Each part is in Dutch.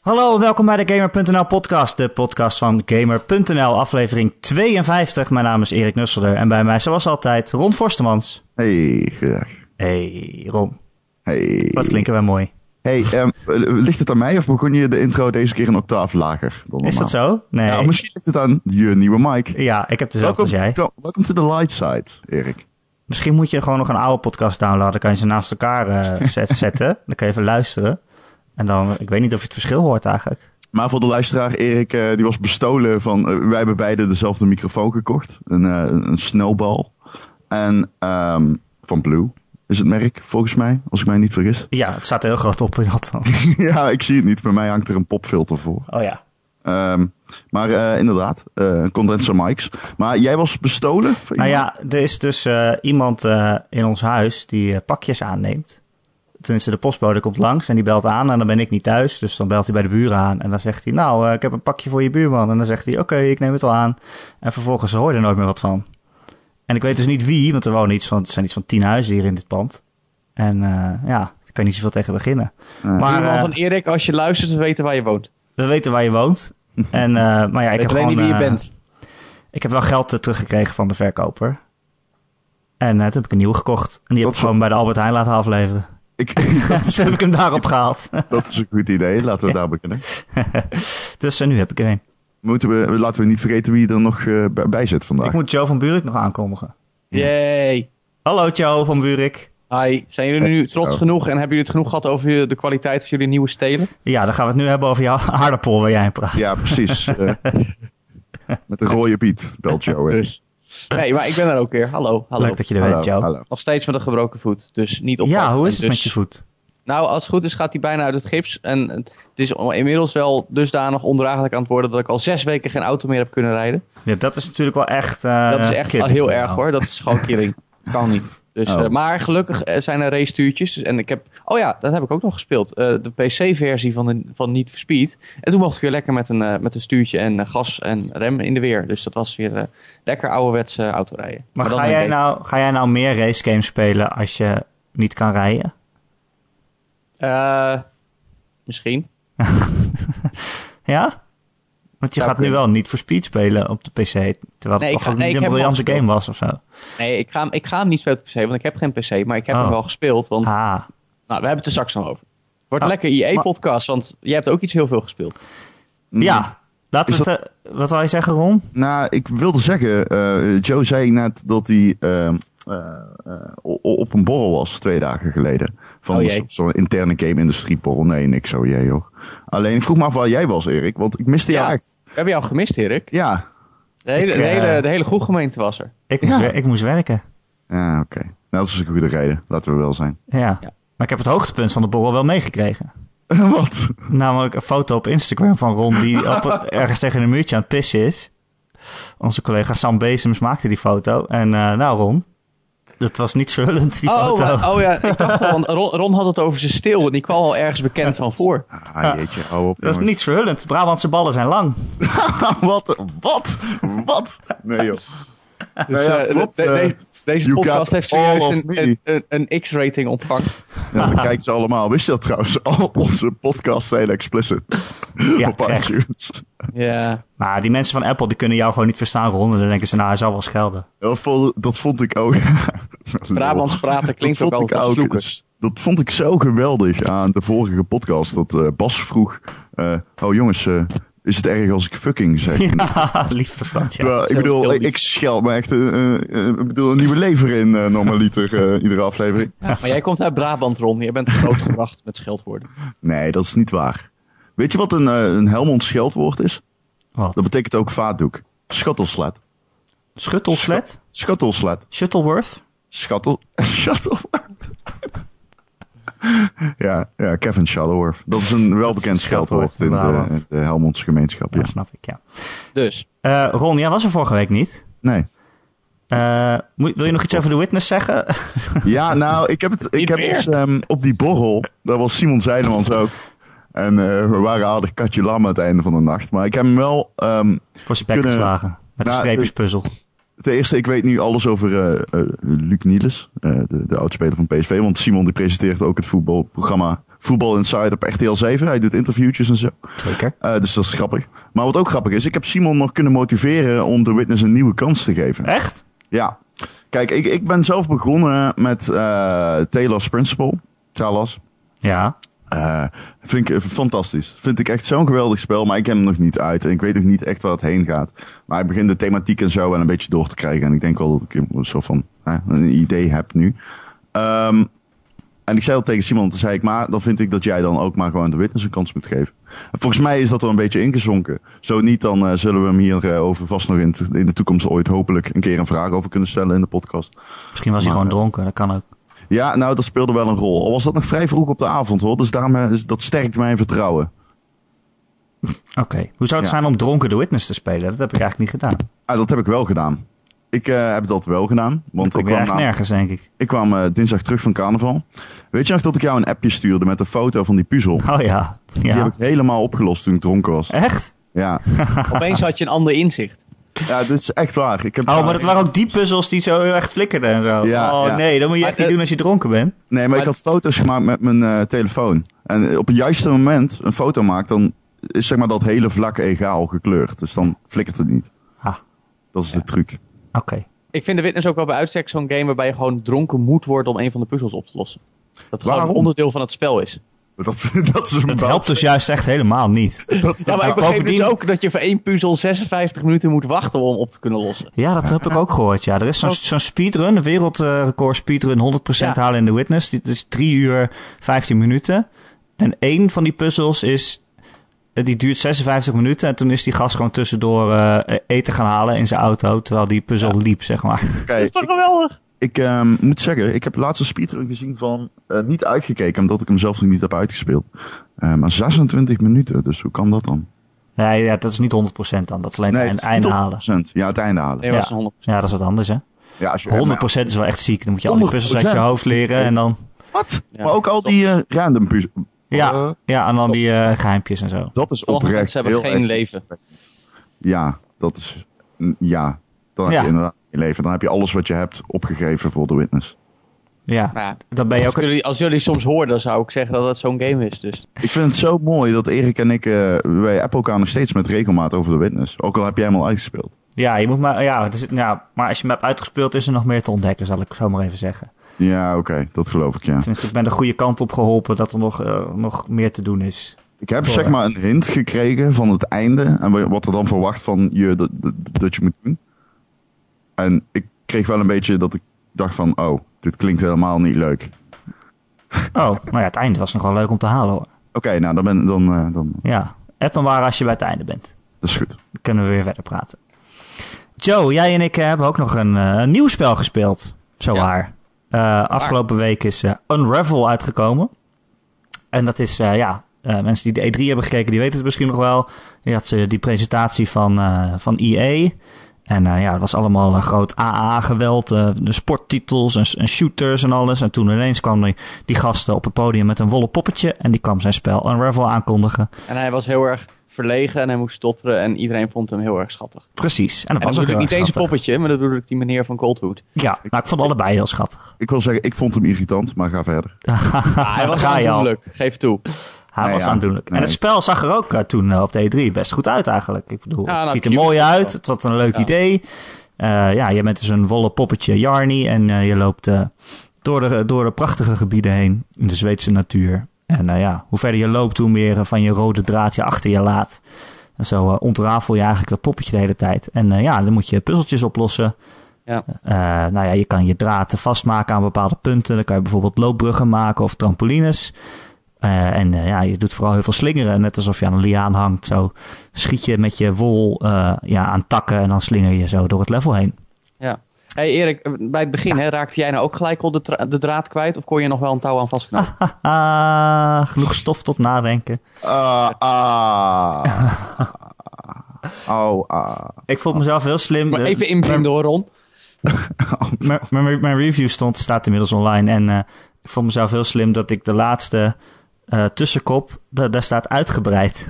Hallo, welkom bij de Gamer.nl podcast, de podcast van Gamer.nl, aflevering 52. Mijn naam is Erik Nusselder en bij mij zoals altijd Ron Forstemans. Hey, gedag. Hey Ron, Hey. wat klinken wij mooi. Hey, ehm, ligt het aan mij of begon je de intro deze keer een octaaf lager dan Is normaal? dat zo? Nee. Oh, Ja, misschien ligt het aan je nieuwe mic. Ja, ik heb dezelfde Welkom, als jij. wel- welkom to the light side, Erik. Misschien moet je gewoon nog een oude podcast downloaden, dan kan je ze naast elkaar eh, zet- zetten. Dan kan je even luisteren. En dan, ik weet niet of je het verschil hoort eigenlijk. Maar voor de luisteraar, Erik, eh, die was bestolen van... eh, wij hebben beide dezelfde microfoon gekocht. Een, eh, een snowball. En ehm, van Blue is het merk, volgens mij. Als ik mij niet vergis. Ja, het staat heel groot op in dat dan. ja, ik zie het niet. Bij mij hangt er een popfilter voor. Oh ja. Ehm, maar eh, inderdaad, eh, condenser mics. Maar jij was bestolen? van Nou iemand? ja, er is dus eh, iemand eh, in ons huis die eh, pakjes aanneemt. Tenminste, de postbode komt langs en die belt aan en dan ben ik niet thuis. Dus dan belt hij bij de buren aan en dan zegt hij... Nou, eh, ik heb een pakje voor je buurman. En dan zegt hij, oké, ik neem het al aan. En vervolgens hoor je er nooit meer wat van. En ik weet dus niet wie, want er wonen iets van, het zijn iets van tien huizen hier in dit pand. En eh, ja, daar kan je niet zoveel tegen beginnen. Nee. Maar Maar eh, van Erik, als je luistert, we weten waar je woont. we weten waar je woont. En, eh, maar ja, ik Ik heb weet gewoon... alleen niet wie je eh, bent. Ik heb wel geld eh, teruggekregen van de verkoper. En eh, toen heb ik een nieuwe gekocht. En die heb Wat ik voor- gewoon bij de Albert Heijn laten afleveren. Ik, dus heb ik hem daarop gehaald. dat is een goed idee. Laten we daar beginnen. dus eh, nu heb ik er een. Moeten we, laten we niet vergeten wie er nog eh, bij- bij zit vandaag. Ik moet Joe van Buurik nog aankondigen. Yay. Hallo Joe van Buurik. Hi. Zijn jullie nu trots genoeg en hebben jullie het genoeg gehad over je- de kwaliteit van jullie nieuwe stelen? Ja, dan gaan we het nu hebben over jouw aardappel waar jij in praat. Ja, precies. eh. met de rode Piet belt jou. hè. Dus. Nee, maar ik ben er ook weer. Hallo, hallo. Leuk dat je er Hallo, bent, Joe. hallo. Nog steeds met een gebroken voet, dus niet op. Ja, hoe is het dus, met je voet? Nou, als het goed is gaat hij bijna uit het gips. En het is inmiddels wel dusdanig ondraaglijk aan het worden dat ik al zes weken geen auto meer heb kunnen rijden. Ja, dat is natuurlijk wel echt... eh, dat is echt al killing heel voor erg jou. hoor. Dat is gewoon killing. Dat kan niet. Dus, Oh. eh, maar gelukkig eh, zijn er racetuurtjes. Dus, en ik heb, oh ja, dat heb ik ook nog gespeeld. Eh, de PC-versie van, de- van Need for Speed. En toen mocht ik weer lekker met een, eh, met een stuurtje en eh, gas en rem in de weer. Dus dat was weer eh, lekker ouderwets eh, autorijden. Maar dan ga een jij, beetje. nou, ga jij nou meer racegames spelen als je niet kan rijden? Eh, misschien. Ja? Want je Zou gaat nu kunnen. wel niet voor Speed spelen op de PC. Terwijl het ik toch ga- ook nee, niet ik een heb hem al briljante game was of zo. Nee, ik ga, hem- ik ga hem niet spelen op de PC, want ik heb geen PC. Maar ik heb Oh. hem wel gespeeld, want nou, Ah, we hebben het er straks nog over. Wordt Ah, lekker maar- IE-podcast, want jij hebt ook iets heel veel gespeeld. ja. Laten Is we het, eh, wat wou je zeggen, Ron? Mm, Nou, ik wilde zeggen, eh, Joe zei net dat hij ehm, eh, eh, o- o- op een borrel was twee dagen geleden. Van Oh, een jee. soort- zo'n interne game-industrie borrel. Nee, niks zo, jij joh. Alleen ik vroeg me af waar jij was, Erik, want ik miste jou Ja. echt. We hebben jou gemist, Erik. Ja, De hele, Ik, de eh, hele, de hele groegemeente was er. Ik moest, Ja. wer- ik moest werken. ja oké. Nou, dat is een goede reden, laten we wel zijn. Ja. Ja. Maar ik heb het hoogtepunt van de borrel wel meegekregen. Wat? Namelijk een foto op Instagram van Ron die op, ergens tegen een muurtje aan het pissen is. Onze collega Sam Bezems maakte die foto. En eh, nou, Ron, dat was niet verhullend, die Oh, foto. maar- oh ja, ik dacht al, want Ron, Ron had het over zijn stil en die kwam al ergens bekend van voor. Ah, jeetje, hou op. Dat is oh. jongens. niet verhullend. Brabantse ballen zijn lang. wat? Wat? Wat? Nee, joh. Dus, ja, eh, de- klopt, de- eh, de- deze you podcast got heeft all serieus of een, me. een, een, een X-rating ontvangen. Ja, dat Nou, kijken ze allemaal. Wist je dat trouwens? Al onze podcasts zijn explicit Ja, op echt. iTunes. Ja. Maar Nou, die mensen van Apple die kunnen jou gewoon niet verstaan, Ron. En dan denken ze, nou, hij zal wel schelden. Dat vond, dat vond ik ook. Brabants praten klinkt Dat ook vond ik dus altijd als vloeken. Dat vond ik zo geweldig aan de vorige podcast. Dat eh, Bas vroeg: eh, Oh jongens, eh, is het erg als ik fucking zeg? Nou, Ja, Ah, lief verstand, ja. Terwijl, ik heel- bedoel, heel ik, lief. ik scheld me echt eh, eh, ik bedoel, een nieuwe lever in, eh, normaliter, eh, iedere aflevering. Maar jij komt uit Brabant, Ron. Jij bent grootgebracht met scheldwoorden. Nee, dat is niet waar. Weet je wat een, eh, een Helmond scheldwoord is? Wat? Dat betekent ook vaatdoek. Schuttelslet. Schuttelslet? Schuttelslet. Shuttleworth? Schattel. Shuttleworth. ja, ja, Kevin Shuttleworth. Dat is een Dat welbekend is een scheldwoord scheldwoord in de, inderdaad. in de Helmondse gemeenschap. Ja. Ja, snap ik, ja. Dus, Eh, Ron, jij was er vorige week niet. Nee. Eh, moet, wil je nog iets over The Witness zeggen? Ja, nou, ik heb het, ik Niet heb meer. het ehm, op die borrel. Daar was Simon Zijlemans ook. En eh, we waren aardig katje lam aan het einde van de nacht. Maar ik heb hem wel ehm, Voor zijn bek Kunnen- geslagen. Met een Nou, streepjespuzzel. Ten eerste, ik weet nu alles over eh, eh, Luc Niels, eh, de, de oudspeler van PSV. Want Simon die presenteert ook het voetbalprogramma Voetbal Inside op RTL 7. Hij doet interviewtjes en zo. Zeker. Eh, dus dat is grappig. Maar wat ook grappig is, ik heb Simon nog kunnen motiveren om de Witness een nieuwe kans te geven. Echt? Ja. Kijk, ik, ik ben zelf begonnen met eh Taylor's Principle. Talos. Ja. Eh, vind ik eh, fantastisch. Vind ik echt zo'n geweldig spel, maar ik heb hem nog niet uit. En ik weet nog niet echt waar het heen gaat. Maar ik begin de thematiek en zo wel een beetje door te krijgen. En ik denk wel dat ik een soort van eh, een idee heb nu. Ehm, en ik zei dat tegen Simon, toen zei ik, maar dan vind ik dat jij dan ook maar gewoon de witness een kans moet geven. En volgens mij is dat er een beetje ingezonken. Zo niet, dan eh, zullen we hem hier eh, over vast nog in, in de toekomst ooit hopelijk een keer een vraag over kunnen stellen in de podcast. Misschien was hij Maar, gewoon dronken, dat kan ook. Ja, nou, dat speelde wel een rol. Al was dat nog vrij vroeg op de avond, hoor. Dus daarom, eh, is- dat sterkt mijn vertrouwen. Oké. Hoe zou het Ja. zijn om dronken The Witness te spelen? Dat heb ik eigenlijk niet gedaan. Ah, dat heb ik wel gedaan. Ik eh, heb dat wel gedaan. Dan Want kom ik je kwam, echt na- nergens, denk ik. ik kwam eh, dinsdag terug van carnaval. Weet je nog dat ik jou een appje stuurde met een foto van die puzzel? Oh ja. Die heb ja. ik helemaal opgelost toen ik dronken was. Echt? Ja, Opeens had je een ander inzicht. ja dit is echt waar. Ik heb Oh, maar dat waren ook die puzzels die zo heel erg flikkerden en zo. Ja, oh ja. nee, dat moet je Maar, echt niet eh, doen als je dronken bent. Nee, maar ik had foto's gemaakt met mijn eh, telefoon. En eh, op het juiste moment een foto maakt, dan is zeg maar dat hele vlak egaal gekleurd. Dus dan flikkert het niet. Ah. Dat is de truc. Oké. Ik vind de Witness ook wel bij uitstek zo'n game waarbij je gewoon dronken moet worden om een van de puzzels op te lossen. Dat gewoon Waarom? een onderdeel van het spel is. Dat, dat is een Dat bel- helpt dus juist echt helemaal niet. dat is Ja, maar ik Ja, begreep bovendien- dus ook dat je voor één puzzel 56 minuten moet wachten om op te kunnen lossen. Ja, dat heb ik ook gehoord. Ja, er is zo'n zo'n speedrun, een wereldrecord speedrun, 100% Ja. halen in The Witness. Dit is 3 uur 15 minuten. En één van die puzzels is, eh, die duurt 56 minuten. En toen is die gast gewoon tussendoor eh, eten gaan halen in zijn auto, terwijl die puzzel liep, zeg maar. Dat Kijk, is toch geweldig? Ik ehm, moet zeggen, ik heb laatst een speedrun gezien van... eh, niet uitgekeken, omdat ik hem zelf nog niet heb uitgespeeld. Eh, maar 26 minuten, dus hoe kan dat dan? Nee, ja, dat is niet 100% dan. Dat is alleen het het is einde niet halen. 100%. Ja, het einde halen. Nee, dat is een 100%. Ja, dat is wat anders, hè. 100% Ja, als je, is wel echt ziek. Dan moet je al die puzzels uit je 100%. hoofd leren en dan... Wat? Ja. maar ook al die eh, random puzzels. Ja, ja en dan die eh, geheimpjes en zo. Dat is Sommige oprecht mensen hebben heel geen erg- leven. Ja, dat is... mm, Ja, dan heb Ja. je inderdaad je leven. Dan heb je alles wat je hebt opgegeven voor de witness. Ja, Nou ja, dan ben je als, ook... een- jullie, als jullie soms horen, dan zou ik zeggen dat dat zo'n game is. Dus. Ik vind het zo mooi dat Erik en ik... eh, wij appen elkaar nog steeds met regelmaat over de witness. Ook al heb jij hem al uitgespeeld. Ja, je moet maar, ja, er zit- ja, maar als je hem hebt uitgespeeld is er nog meer te ontdekken, zal ik zo maar even zeggen. Ja, oké. dat geloof ik, ja. Tenminste, ik ben de goede kant op geholpen dat er nog, eh, nog meer te doen is. Ik heb Voor- zeg maar een hint gekregen van het einde en wa- wat er dan verwacht van je dat, dat, dat je moet doen. En ik kreeg wel een beetje dat ik dacht van, oh, dit klinkt helemaal niet leuk. Oké, Oh, nou ja, het einde was nog wel leuk om te halen hoor. nou dan ben dan, eh, dan Ja, app me maar als je bij het einde bent. dat is goed. Dan kunnen we weer verder praten. Joe, jij en ik eh, hebben ook nog een eh, nieuw spel gespeeld, zo Ja. waar. Eh, afgelopen week is eh, Unravel uitgekomen. En dat is, eh, ja, eh, mensen die de E3 hebben gekeken, die weten het misschien nog wel. Je had eh, die presentatie van, eh van EA. En eh, ja, het was allemaal een groot AA-geweld. eh, de sporttitels en, en shooters en alles. En toen ineens kwam die, die gasten op het podium met een wollen poppetje. En die kwam zijn spel Unravel aankondigen. En hij was heel erg verlegen en hij moest stotteren en iedereen vond hem heel erg schattig. Precies. En dat En dan was ook bedoel ik heel niet erg deze schattig. poppetje, maar dat bedoel ik die meneer van Coldwood. Ja, nou, ik vond allebei heel schattig. Ik wil zeggen, ik vond hem irritant, maar ga verder. Ah, hij was Ga je al. aandoenlijk, geef toe. Hij Nee, was ja. aandoenlijk. En Nee. het spel zag er ook eh, toen eh, op de E3 best goed uit eigenlijk. Ik bedoel, Ja, het nou, ziet er cute mooi is het uit. wel. Het wat een leuk Ja. idee. Eh, ja, je bent dus een wollen poppetje Jarny. En eh, je loopt eh, door, de, door de prachtige gebieden heen in de Zweedse natuur. En nou ja, hoe verder je loopt, hoe meer eh, van je rode draad je achter je laat. En zo eh, ontrafel je eigenlijk dat poppetje de hele tijd. En eh, ja, dan moet je puzzeltjes oplossen. Ja. Eh, nou ja, je kan je draad vastmaken aan bepaalde punten. Dan kan je bijvoorbeeld loopbruggen maken of trampolines. Eh, en eh, ja, je doet vooral heel veel slingeren. Net alsof je aan een liaan hangt. Zo schiet je met je wol eh, ja, aan takken en dan slinger je zo door het level heen. Ja. hey Erik, bij het begin hè, raakte jij nou ook gelijk al de, tra- de draad kwijt of kon je er nog wel een touw aan vastknopen? Haha, Ah, genoeg stof tot nadenken. Ah, ah. Au, ah. Ik vond mezelf heel slim. maar Eh, even inbrengen door Ron. mijn, mijn, mijn review stond, staat inmiddels online. En eh, ik vond mezelf heel slim dat ik de laatste eh, tussenkop, da- daar staat uitgebreid.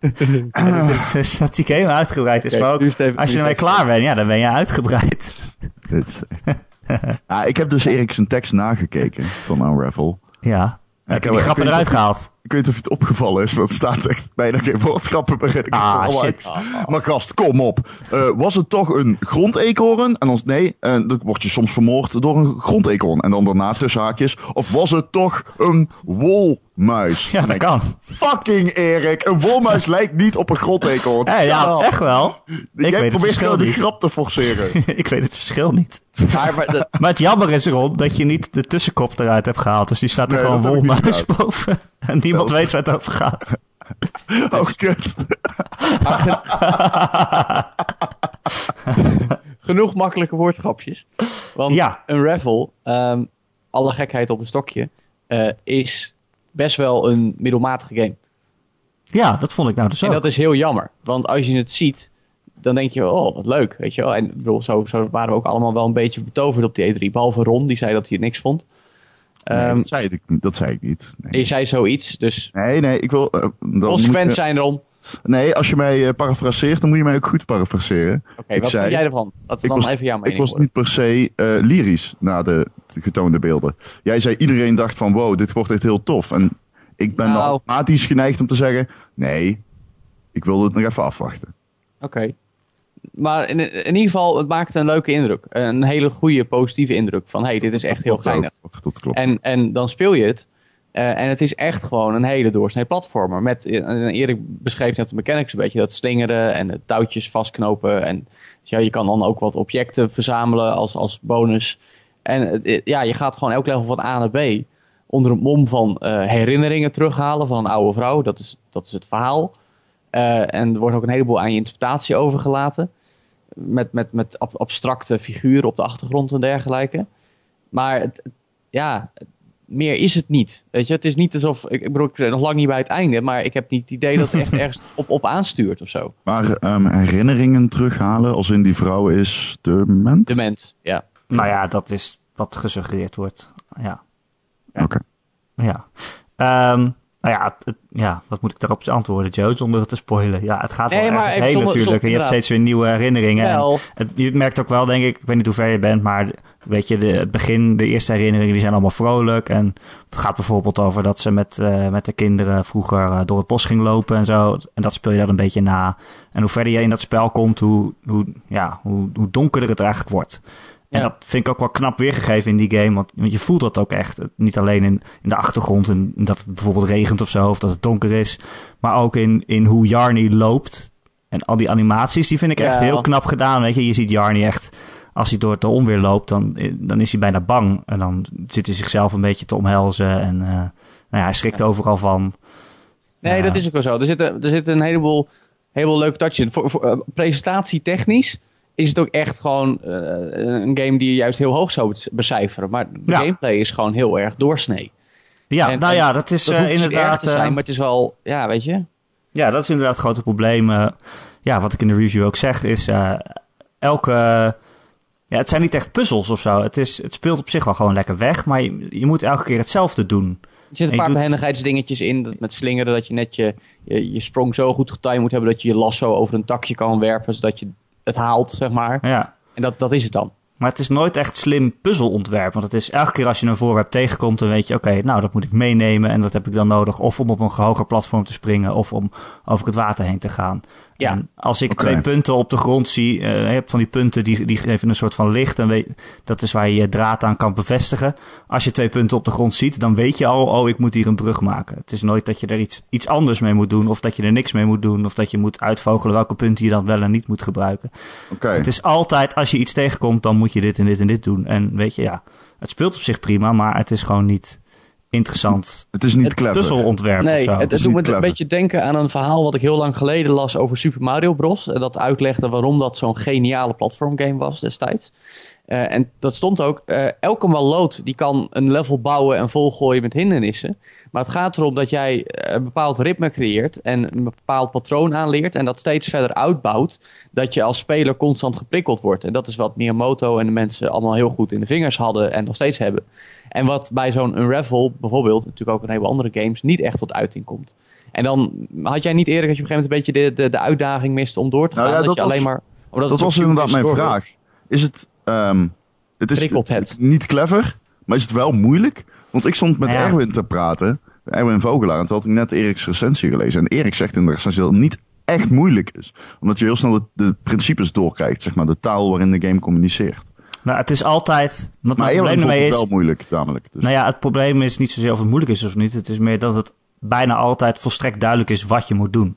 Het is Ah. dus dat die game uitgebreid is. Oké, maar ook nu is het even- als je nu is ermee het klaar bent, ja, dan ben je uitgebreid. Dit is echt- Ah, ik heb dus Erik zijn tekst nagekeken van Unravel. Ja. Heb je heb- die ik grappen weet eruit niet- gehaald? Ik weet niet of je het opgevallen is, want het staat echt bijna geen woordgrappen meer. in. Ik Ah, heb het allemaal shit. uit- Maar gast, kom op. Eh, was het toch een grondeekhoorn? En ons nee, eh, dan word je soms vermoord door een grondeekhoorn. En dan daarna tussen haakjes. Of was het toch een Ja, wolmuis? Dan dat denk ik, kan. Fucking Erik, een wolmuis lijkt niet op een grondeekhoorn. Hé, Eh, ja, Shut up. echt wel. Jij Ik weet het probeert verschil gewoon die niet. grap te forceren. Ik weet het verschil niet. Maar, maar dat, Maar het jammer is rond dat je niet de tussenkop eruit hebt gehaald. Dus die staat er Nee, gewoon dat heb ik wolmuis niet boven. En niemand weet waar het over gaat. Oh, kut. genoeg makkelijke woordgrapjes. Want Ja. een raffle, ehm, alle gekheid op een stokje, eh, is best wel een middelmatige game. Ja, dat vond ik nou dus ook. En dat is heel jammer. Want als je het ziet, dan denk je, oh, wat leuk. Weet je wel. En ik bedoel, zo, zo waren we ook allemaal wel een beetje betoverd op die E3. Behalve Ron, die zei dat hij het niks vond. Nee, Ehm dat, zei ik niet, dat zei ik niet. Nee, Je zei zoiets, dus nee, nee, ik wil... eh, dan moet consequent je- zijn, Ron. Oké, Nee, als je mij eh, parafraseert, dan moet je mij ook goed parafraseren. Ik wat zei- vind jij ervan? Dat we Ik dan was, even jouw mening ik was horen. niet per se eh, lyrisch na de getoonde beelden. Jij zei iedereen dacht van wow, dit wordt echt heel tof. En ik ben dan Nou. automatisch geneigd om te zeggen, nee, ik wilde het nog even afwachten. Oké. Maar in, in ieder geval, het maakte een leuke indruk. Een hele goede, positieve indruk. Van, hey, dit is echt heel Klopt ook. geinig. Dat, dat klopt. En, en dan speel je het. Eh, en het is echt gewoon een hele doorsnee platformer. Met, en Erik beschreef net de mechanics een beetje. Dat slingeren en de touwtjes vastknopen. En dus ja, je kan dan ook wat objecten verzamelen als, als bonus. En het- eh, ja, je gaat gewoon elk level van A naar B. Onder een mom van eh, herinneringen terughalen van een oude vrouw. Dat is, dat is het verhaal. Eh, en er wordt ook een heleboel aan je interpretatie overgelaten. Met, met, met ab- abstracte figuren op de achtergrond en dergelijke. Maar het, het- ja, het- meer is het niet. Weet je, het is niet alsof. Ik, ik bedoel, ik ben nog lang niet bij het einde. Maar ik heb niet het idee dat het echt ergens op, op aanstuurt of zo. Maar ehm, herinneringen terughalen, als in die vrouw is de mens? De mens, ja. Nou ja, dat is wat gesuggereerd wordt. Ja. Oké. Ja. Ehm, nou ja, het- het- ja, wat moet ik daarop antwoorden, Joe, zonder het te spoilen? Ja, het gaat wel Nee, maar ergens even heen zonder- natuurlijk. en zonder- je hebt inderdaad. steeds weer nieuwe herinneringen. En Wel, het, je merkt ook wel, denk ik, ik weet niet hoe ver je bent, maar weet je, de, het begin, de eerste herinneringen, die zijn allemaal vrolijk. En het gaat bijvoorbeeld over dat ze met, eh, met de kinderen vroeger eh, door het bos ging lopen en zo. En dat speel je dan een beetje na. En hoe verder je in dat spel komt, hoe, hoe, ja, hoe, hoe donkerder het eigenlijk wordt. En Ja. dat vind ik ook wel knap weergegeven in die game. Want, want je voelt dat ook echt. Het- Niet alleen in, in de achtergrond en dat het bijvoorbeeld regent of zo. Of dat het donker is. Maar ook in, in hoe Jarny loopt. En al die animaties, die vind ik echt Ja. heel knap gedaan. Weet je, je ziet Jarny echt... Als hij door het onweer loopt, dan, eh, dan is hij bijna bang. En dan zit hij zichzelf een beetje te omhelzen. En eh, nou ja, hij schrikt overal van. Nee, Ja. dat is ook wel zo. Er zitten, er zitten een heleboel, heleboel leuke touches in. Voor, voor, eh, presentatietechnisch is het ook echt gewoon eh, een game die je juist heel hoog zou be- becijferen. Maar de Ja. gameplay is gewoon heel erg doorsnee. Ja, En- nou en ja, dat is Dat eh, hoeft niet inderdaad... erg te zijn, eh, maar het is wel, ja, weet je. Ja, dat is inderdaad het grote probleem. eh, ja, wat ik in de review ook zeg, is eh, elke. ja, het zijn niet echt puzzels of zo. Het, is, het speelt op zich wel gewoon lekker weg, maar je, je moet elke keer hetzelfde doen. Er zitten Ik een paar doe het- behendigheidsdingetjes in. Dat met slingeren dat je net je, je, je sprong zo goed getimed moet hebben dat je je lasso over een takje kan werpen. Zodat je het haalt, zeg maar. Ja. En dat, dat is het dan. Maar het is nooit echt slim puzzelontwerp. Want het is elke keer als je een voorwerp tegenkomt, dan weet je, oké, nou dat moet ik meenemen en dat heb ik dan nodig. Of om op een hoger platform te springen, of om over het water heen te gaan. Ja. En als ik Oké. twee punten op de grond zie, eh, heb van die punten die, die geven een soort van licht. En weet, dat is waar je je draad aan kan bevestigen. Als je twee punten op de grond ziet, dan weet je al, oh, ik moet hier een brug maken. Het is nooit dat je er iets, iets anders mee moet doen, of dat je er niks mee moet doen, of dat je moet uitvogelen welke punten je dan wel en niet moet gebruiken. Oké. Het is altijd, als je iets tegenkomt, dan moet je dit en dit en dit doen. En weet je, ja, het speelt op zich prima, maar het is gewoon niet interessant Het is niet het clever. puzzelontwerp of Nee, zo. het, is het doet niet me een clever. beetje denken aan een verhaal wat ik heel lang geleden las over Super Mario Bros. En dat uitlegde waarom dat zo'n geniale platformgame was destijds. Eh, en dat stond ook, eh, elke maloot die kan een level bouwen en volgooien met hindernissen. Maar het gaat erom dat jij eh, een bepaald ritme creëert en een bepaald patroon aanleert en dat steeds verder uitbouwt. Dat je als speler constant geprikkeld wordt. En dat is wat Miyamoto en de mensen allemaal heel goed in de vingers hadden en nog steeds hebben. En wat bij zo'n Unravel bijvoorbeeld, natuurlijk ook een heleboel andere games, niet echt tot uiting komt. En dan had jij niet eerder dat je op een gegeven moment een beetje de, de, de uitdaging mist om door te gaan. Nou ja, dat dat, je was- alleen maar. Omdat Dat het was zo inderdaad mijn door- vraag. Is het, ehm, het is Prikkelt het. niet clever, maar is het wel moeilijk? Want ik stond met Nou ja. Erwin te praten, Erwin Vogelaar, en toen had ik net Erik's recensie gelezen. En Erik zegt in de recensie dat het niet echt moeilijk is. Omdat je heel snel de, de principes doorkrijgt, zeg maar, de taal waarin de game communiceert. Nou, het is altijd. Wat Maar mijn Erwin probleem vond ermee het is. wel moeilijk, namelijk. Dus, Nou ja, het probleem is niet zozeer of het moeilijk is of niet. Het is meer dat het bijna altijd volstrekt duidelijk is wat je moet doen.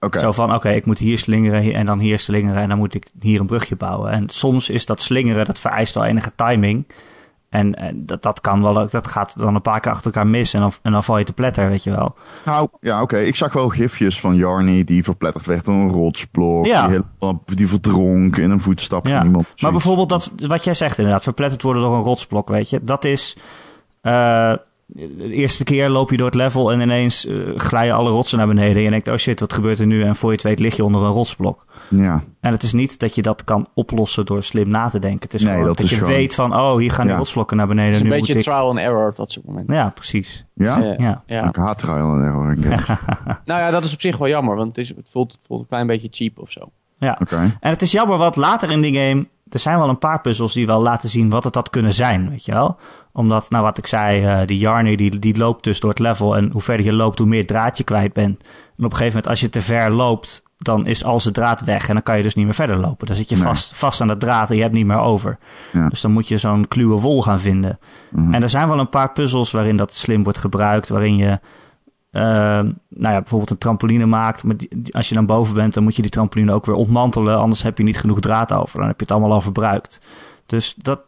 oké. Zo van, oké, ik moet hier slingeren hier- en dan hier slingeren en dan moet ik hier een brugje bouwen. En soms is dat slingeren, dat vereist wel enige timing. En, en dat, dat kan wel, ook- dat gaat dan een paar keer achter elkaar mis en dan, en dan val je te pletter, weet je wel. Nou, ja, oké. Ik zag wel gifjes van Jarny die verpletterd werd door een rotsblok. Ja. Die, helemaal- die verdronk in een voetstap Ja. van iemand. Maar Zoiets. bijvoorbeeld dat, wat jij zegt inderdaad, verpletterd worden door een rotsblok, weet je. Dat is, eh, de eerste keer loop je door het level en ineens eh, glijden alle rotsen naar beneden. En je denkt, oh shit, wat gebeurt er nu? En voor je het weet lig je onder een rotsblok. Ja. En het is niet dat je dat kan oplossen door slim na te denken. Het is Nee, gewoon dat, dat is je gewoon- weet van, oh, hier gaan die Ja. rotsblokken naar beneden. Het is een nu beetje moet ik... trial and error op dat soort momenten. Ja, precies. Ja? Eh, Ja. ja. Ik haat trial and error in games. Nou ja, dat is op zich wel jammer, want het, is, het, voelt, het voelt een klein beetje cheap of zo. Ja. Oké. En het is jammer, want later in die game... Er zijn wel een paar puzzels die wel laten zien wat het had kunnen zijn, weet je wel? Omdat, nou wat ik zei, eh, die Jarny die, die loopt dus door het level. En hoe verder je loopt, hoe meer draad je kwijt bent. En op een gegeven moment, als je te ver loopt, dan is al zijn draad weg. En dan kan je dus niet meer verder lopen. Dan zit je Nee. vast, vast aan de draad en je hebt niet meer over. Ja. Dus dan moet je zo'n kluwe wol gaan vinden. Mhm. En er zijn wel een paar puzzels waarin dat slim wordt gebruikt. Waarin je ehm, nou ja, bijvoorbeeld een trampoline maakt. Maar die- die- als je dan boven bent, dan moet je die trampoline ook weer ontmantelen. Anders heb je niet genoeg draad over. Dan heb je het allemaal al verbruikt. Dus dat,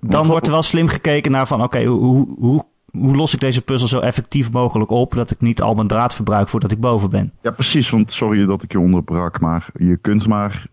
dan Wat- wordt er wel slim gekeken naar van... oké, hoe, hoe, hoe, hoe los ik deze puzzel zo effectief mogelijk op... dat ik niet al mijn draad verbruik voordat ik boven ben. Ja, precies. Want sorry dat ik je onderbrak, maar je kunt maar...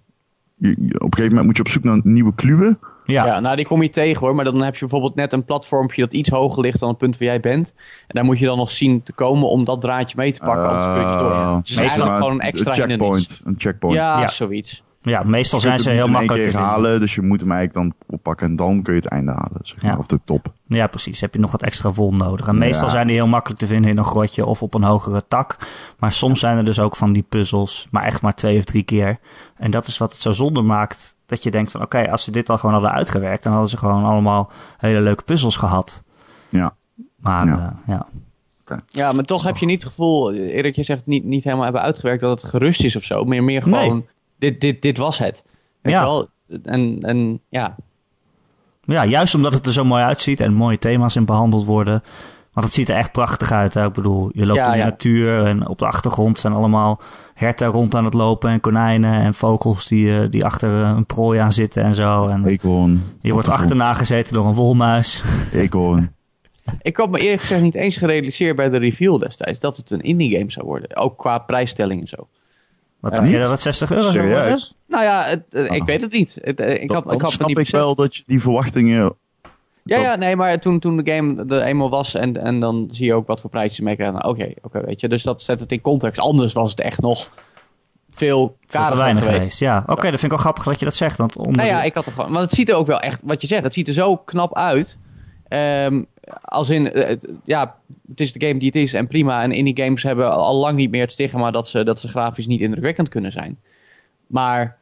je- je- op een gegeven moment moet je op zoek naar nieuwe kluwen. Ja, Ja. nou die kom je tegen hoor, maar dan heb je bijvoorbeeld net een platformpje dat iets hoger ligt dan het punt waar jij bent. En daar moet je dan nog zien te komen om dat draadje mee te pakken, anders kun je door. Eh, Het is zeg eigenlijk maar, gewoon een extra hindernis. checkpoint. Een checkpoint. Ja, Ja. zoiets. ja meestal Je zijn kunt ze heel het niet in één makkelijk te keer vinden. halen, dus je moet hem eigenlijk dan oppakken en dan kun je het einde halen. Zeg maar, Ja. Of de top. Ja, precies. Heb je nog wat extra wol nodig. En meestal Ja. zijn die heel makkelijk te vinden in een grotje of op een hogere tak. Maar soms zijn er dus ook van die puzzels, maar echt maar twee of drie keer. En dat is wat het zo zonde maakt. Dat je denkt van, oké, als ze dit al gewoon hadden uitgewerkt... dan hadden ze gewoon allemaal hele leuke puzzels gehad. Ja. Maar Ja. ja, ja. Ja, maar toch heb je niet het gevoel, Erik, je zegt het niet, niet helemaal hebben uitgewerkt dat het gerust is of zo. Meer, meer Nee. gewoon, dit, dit, dit was het. Weet Ja. je wel? En, en ja, ja, juist omdat het er zo mooi uitziet en mooie thema's in behandeld worden. Want het ziet er echt prachtig uit. Hè? Ik bedoel, je loopt Ja, in de ja. natuur en op de achtergrond zijn allemaal herten rond aan het lopen... en konijnen en vogels die, eh, die achter eh, een prooi aan zitten en zo. En, Eekhoorn. Je wordt achterna gezeten door een wolmuis. Eekhoorn. Ik had me eerlijk gezegd niet eens gerealiseerd bij de reveal destijds dat het een indie game zou worden. Ook qua prijsstelling en zo. Wat Ja, dacht je niet? dat het 60 euro zou worden? Serieus. Nou ja, het- eh, ik Ah. weet het niet. Het, eh, ik Dan, had, ik dan had het snap niet ik wel beseft. dat je die verwachtingen... Ja, dat- ja, nee, maar toen, toen de game er eenmaal was en, en dan zie je ook wat voor prijzen ze mee krijgen. Nou, Oké, oké, weet je. Dus dat zet het in context. Anders was het echt nog veel Veel te kariger weinig geweest. geweest. Ja, oké, dat vind ik wel grappig dat je dat zegt. Want onder Nou ja, de- ik had er gewoon. Want het ziet er ook wel echt, wat je zegt, het ziet er zo knap uit. Ehm, als in, eh, het- ja, het is de game die het is en prima. En indie games hebben al- al lang niet meer het stigma dat ze, dat ze grafisch niet indrukwekkend kunnen zijn. Maar,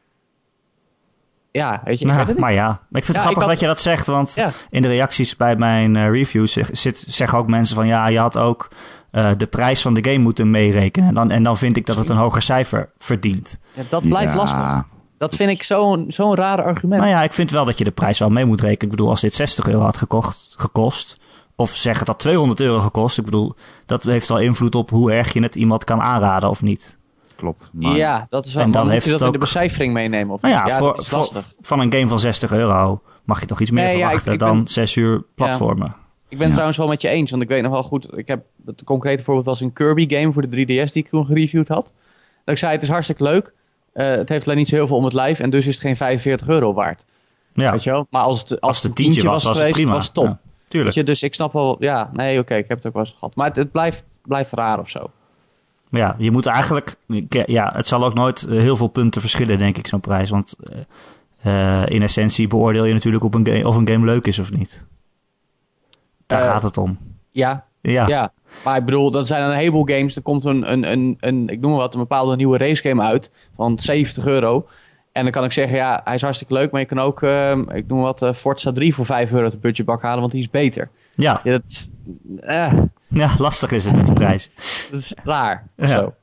ja, weet je, ik Nou, weet het niet. maar ja, maar ik vind het Ja, grappig ik had- dat je dat zegt, want Ja. in de reacties bij mijn eh, reviews zeg- zit- zeggen ook mensen van ja, je had ook eh, de prijs van de game moeten meerekenen. En dan, en dan vind ik dat het een hoger cijfer verdient. Ja, dat blijft Ja. lastig. Dat vind ik zo'n zo'n rare argument. Nou ja, ik vind wel dat je de prijs wel mee moet rekenen. Ik bedoel, als dit 60 euro had gekocht, gekost, of zeg het dat 200 euro gekost, ik bedoel, dat heeft wel invloed op hoe erg je het iemand kan aanraden of niet. Klopt. ja. Maar, dat is wel. En dan Maar moet heeft je dat het in de ook- becijfering meenemen? Of Nou niet? ja, dat voor, is voor- lastig. van een game van 60 euro mag je toch iets meer Nee, ja, verwachten ik- ik dan ben- 6 uur platformen. Ik ben Ja. trouwens wel met je eens, want ik weet nog wel goed. Ik heb het concrete voorbeeld was een Kirby game voor de 3DS die ik toen gereviewd had. Dat ik zei: het is hartstikke leuk. eh, het heeft alleen niet zo heel veel om het lijf en dus is het geen 45 euro waard. Ja. Weet je wel? Maar als het, als Als het het een tientje was, was het geweest, prima. was het top. Ja, tuurlijk. Weet je, dus ik snap wel, ja, nee, oké, ik heb het ook wel eens gehad. Maar het, het blijft, blijft raar of zo. Ja, je moet eigenlijk. ik- Ja, het zal ook nooit eh, heel veel punten verschillen, denk ik, zo'n prijs. Want eh, eh, in essentie beoordeel je natuurlijk op een game, of een game leuk is of niet. Daar Eh, gaat het om. Ja, Ja, ja, Maar ik bedoel, dat zijn een heleboel games. Er komt een, een, een, een ik noem maar wat, een bepaalde nieuwe racegame uit van 70 euro. En dan kan ik zeggen, ja, hij is hartstikke leuk, maar je kan ook, ehm, ik noem maar wat, eh, Forza 3 voor 5 euro uit de budgetbak halen, want die is beter. ja. Ja, dat is, eh, ja, lastig is het met de prijs. dat is raar. Ja. Zo.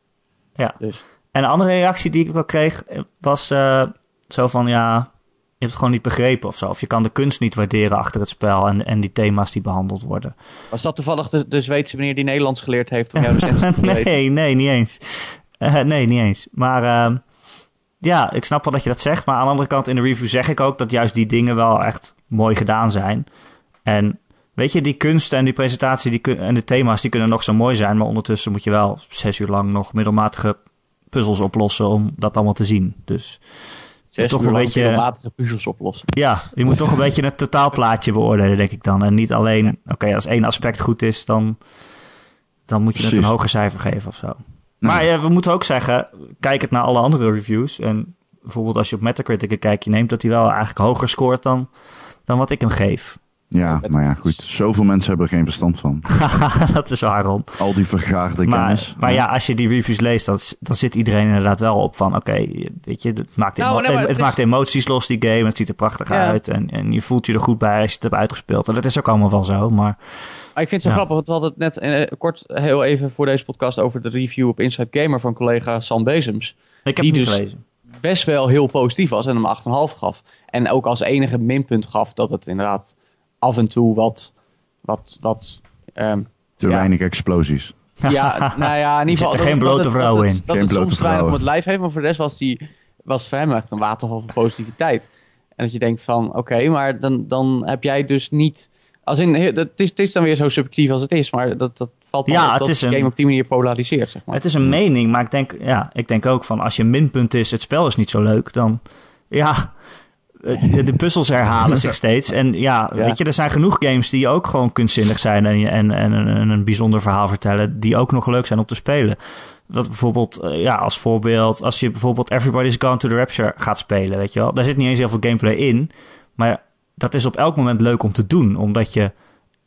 Ja. Dus. En een andere reactie die ik wel kreeg eh, was eh, zo van ja, je hebt het gewoon niet begrepen of zo. Of je kan de kunst niet waarderen achter het spel en, en die thema's die behandeld worden. Was dat toevallig de, de Zweedse meneer die Nederlands geleerd heeft om jouw recensie te lezen? nee, nee, niet eens. Eh, nee, niet eens. Maar ehm, ja, ik snap wel dat je dat zegt. Maar aan de andere kant in de review zeg ik ook dat juist die dingen wel echt mooi gedaan zijn. En weet je, die kunsten en die presentatie die kun- en de thema's die kunnen nog zo mooi zijn. Maar ondertussen moet je wel zes uur lang nog middelmatige puzzels oplossen om dat allemaal te zien. Dus Zes Toch uur een lang beetje- eh, middelmatige puzzels oplossen. Ja, je moet toch een beetje het totaalplaatje beoordelen, denk ik dan. En niet alleen, oké, als één aspect goed is, dan, dan moet je het Precies. een hoger cijfer geven of zo. Nee. Maar ja, we moeten ook zeggen, kijk het naar alle andere reviews. En bijvoorbeeld als je op Metacritic een kijkje neemt, dat hij wel eigenlijk hoger scoort dan, dan wat ik hem geef. Ja, maar ja, goed. Zoveel mensen hebben er geen verstand van. dat is waar, Ron. Al die vergaarde Maar, kennis. maar ja, als je die reviews leest, dan, dan zit iedereen inderdaad wel op van... oké, weet je, het, maakt, Nou, emo- nee, maar het het is- maakt emoties los, die game. Het ziet er prachtig Ja. uit en, en je voelt je er goed bij als je het hebt uitgespeeld. En dat is ook allemaal wel zo, maar... Maar ik vind het zo Ja. grappig, want we hadden het net eh, kort heel even voor deze podcast over de review op Inside Gamer van collega Sam Bezems. Ik heb Die het niet dus- gelezen. best wel heel positief was en hem 8,5 gaf. En ook als enige minpunt gaf dat het inderdaad af en toe wat. wat, wat ehm, Te ja. weinig explosies. Ja, nou ja, in Er ieder zitten geval. dat- geen dat het- blote dat vrouwen het- in. Dat Geen het blote soms weinig om vrouwen. het lijf heeft, maar voor de rest was, die, was het voor hem echt een waterval van positiviteit. En dat je denkt van, oké, maar dan, dan heb jij dus niet... Als in, het, is, het is dan weer zo subjectief als het is, maar dat, dat valt me Ja, op het dat is de een- game op die manier polariseert, zeg maar. Het is een mening, maar ik denk, ja, ik denk ook van als je minpunt is, het spel is niet zo leuk, dan ja, eh, de, de puzzels herhalen zich steeds. En ja, Ja. weet je, er zijn genoeg games die ook gewoon kunstzinnig zijn en, en, en, een- en een bijzonder verhaal vertellen, die ook nog leuk zijn om te spelen. Dat bijvoorbeeld, eh, ja, als voorbeeld, als je bijvoorbeeld Everybody's Gone to the Rapture gaat spelen, weet je wel, daar zit niet eens heel veel gameplay in, maar dat is op elk moment leuk om te doen, omdat je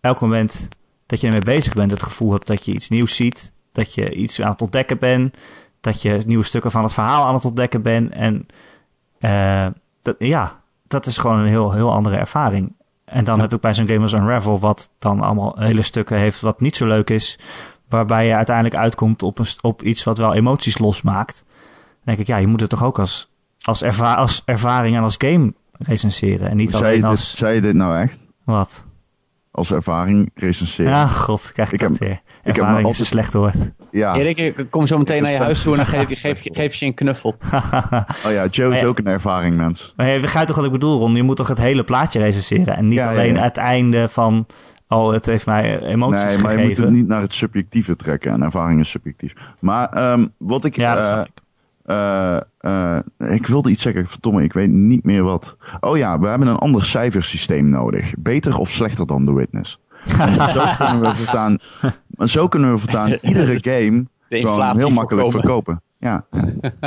elk moment dat je ermee bezig bent, het gevoel hebt dat je iets nieuws ziet, dat je iets aan het ontdekken bent, dat je nieuwe stukken van het verhaal aan het ontdekken bent. En eh, dat, ja, dat is gewoon een heel, heel andere ervaring. En dan heb ik bij zo'n game als Unravel, wat dan allemaal hele stukken heeft wat niet zo leuk is, waarbij je uiteindelijk uitkomt op, een, st- op iets wat wel emoties losmaakt. Dan denk ik, ja, je moet het toch ook als, als, erva- als ervaring en als game recenseren. En niet Zei je, alleen dit, als... zei je dit nou echt? Wat? Als ervaring recenseren? Ja, god, krijg ik, Ik dat heb- weer. heb me Ervaring is altijd- een slecht woord. Ja. Erik, ik kom zo meteen naar je huis toe en dan geef, je- geef, je- geef je een knuffel. Oh ja, Joe is Ja. ook een ervaring, mens. Maar je begrijpt toch wat ik bedoel, Ron? Je moet toch het hele plaatje recenseren en niet Ja, ja, alleen ja. het einde van... Oh, het heeft mij emoties Nee, maar je moet gegeven. het niet naar het subjectieve trekken. En ervaring is subjectief. Maar ehm, wat ik... Ja, dat eh, snap ik. eh, eh, ik wilde iets zeggen, verdomme, ik weet niet meer wat. Oh ja, we hebben een ander cijfersysteem nodig. Beter of slechter dan The Witness. En dus zo kunnen we voortaan, en zo kunnen we voortaan iedere game De gewoon inflatie heel makkelijk voorkomen. verkopen. Ja,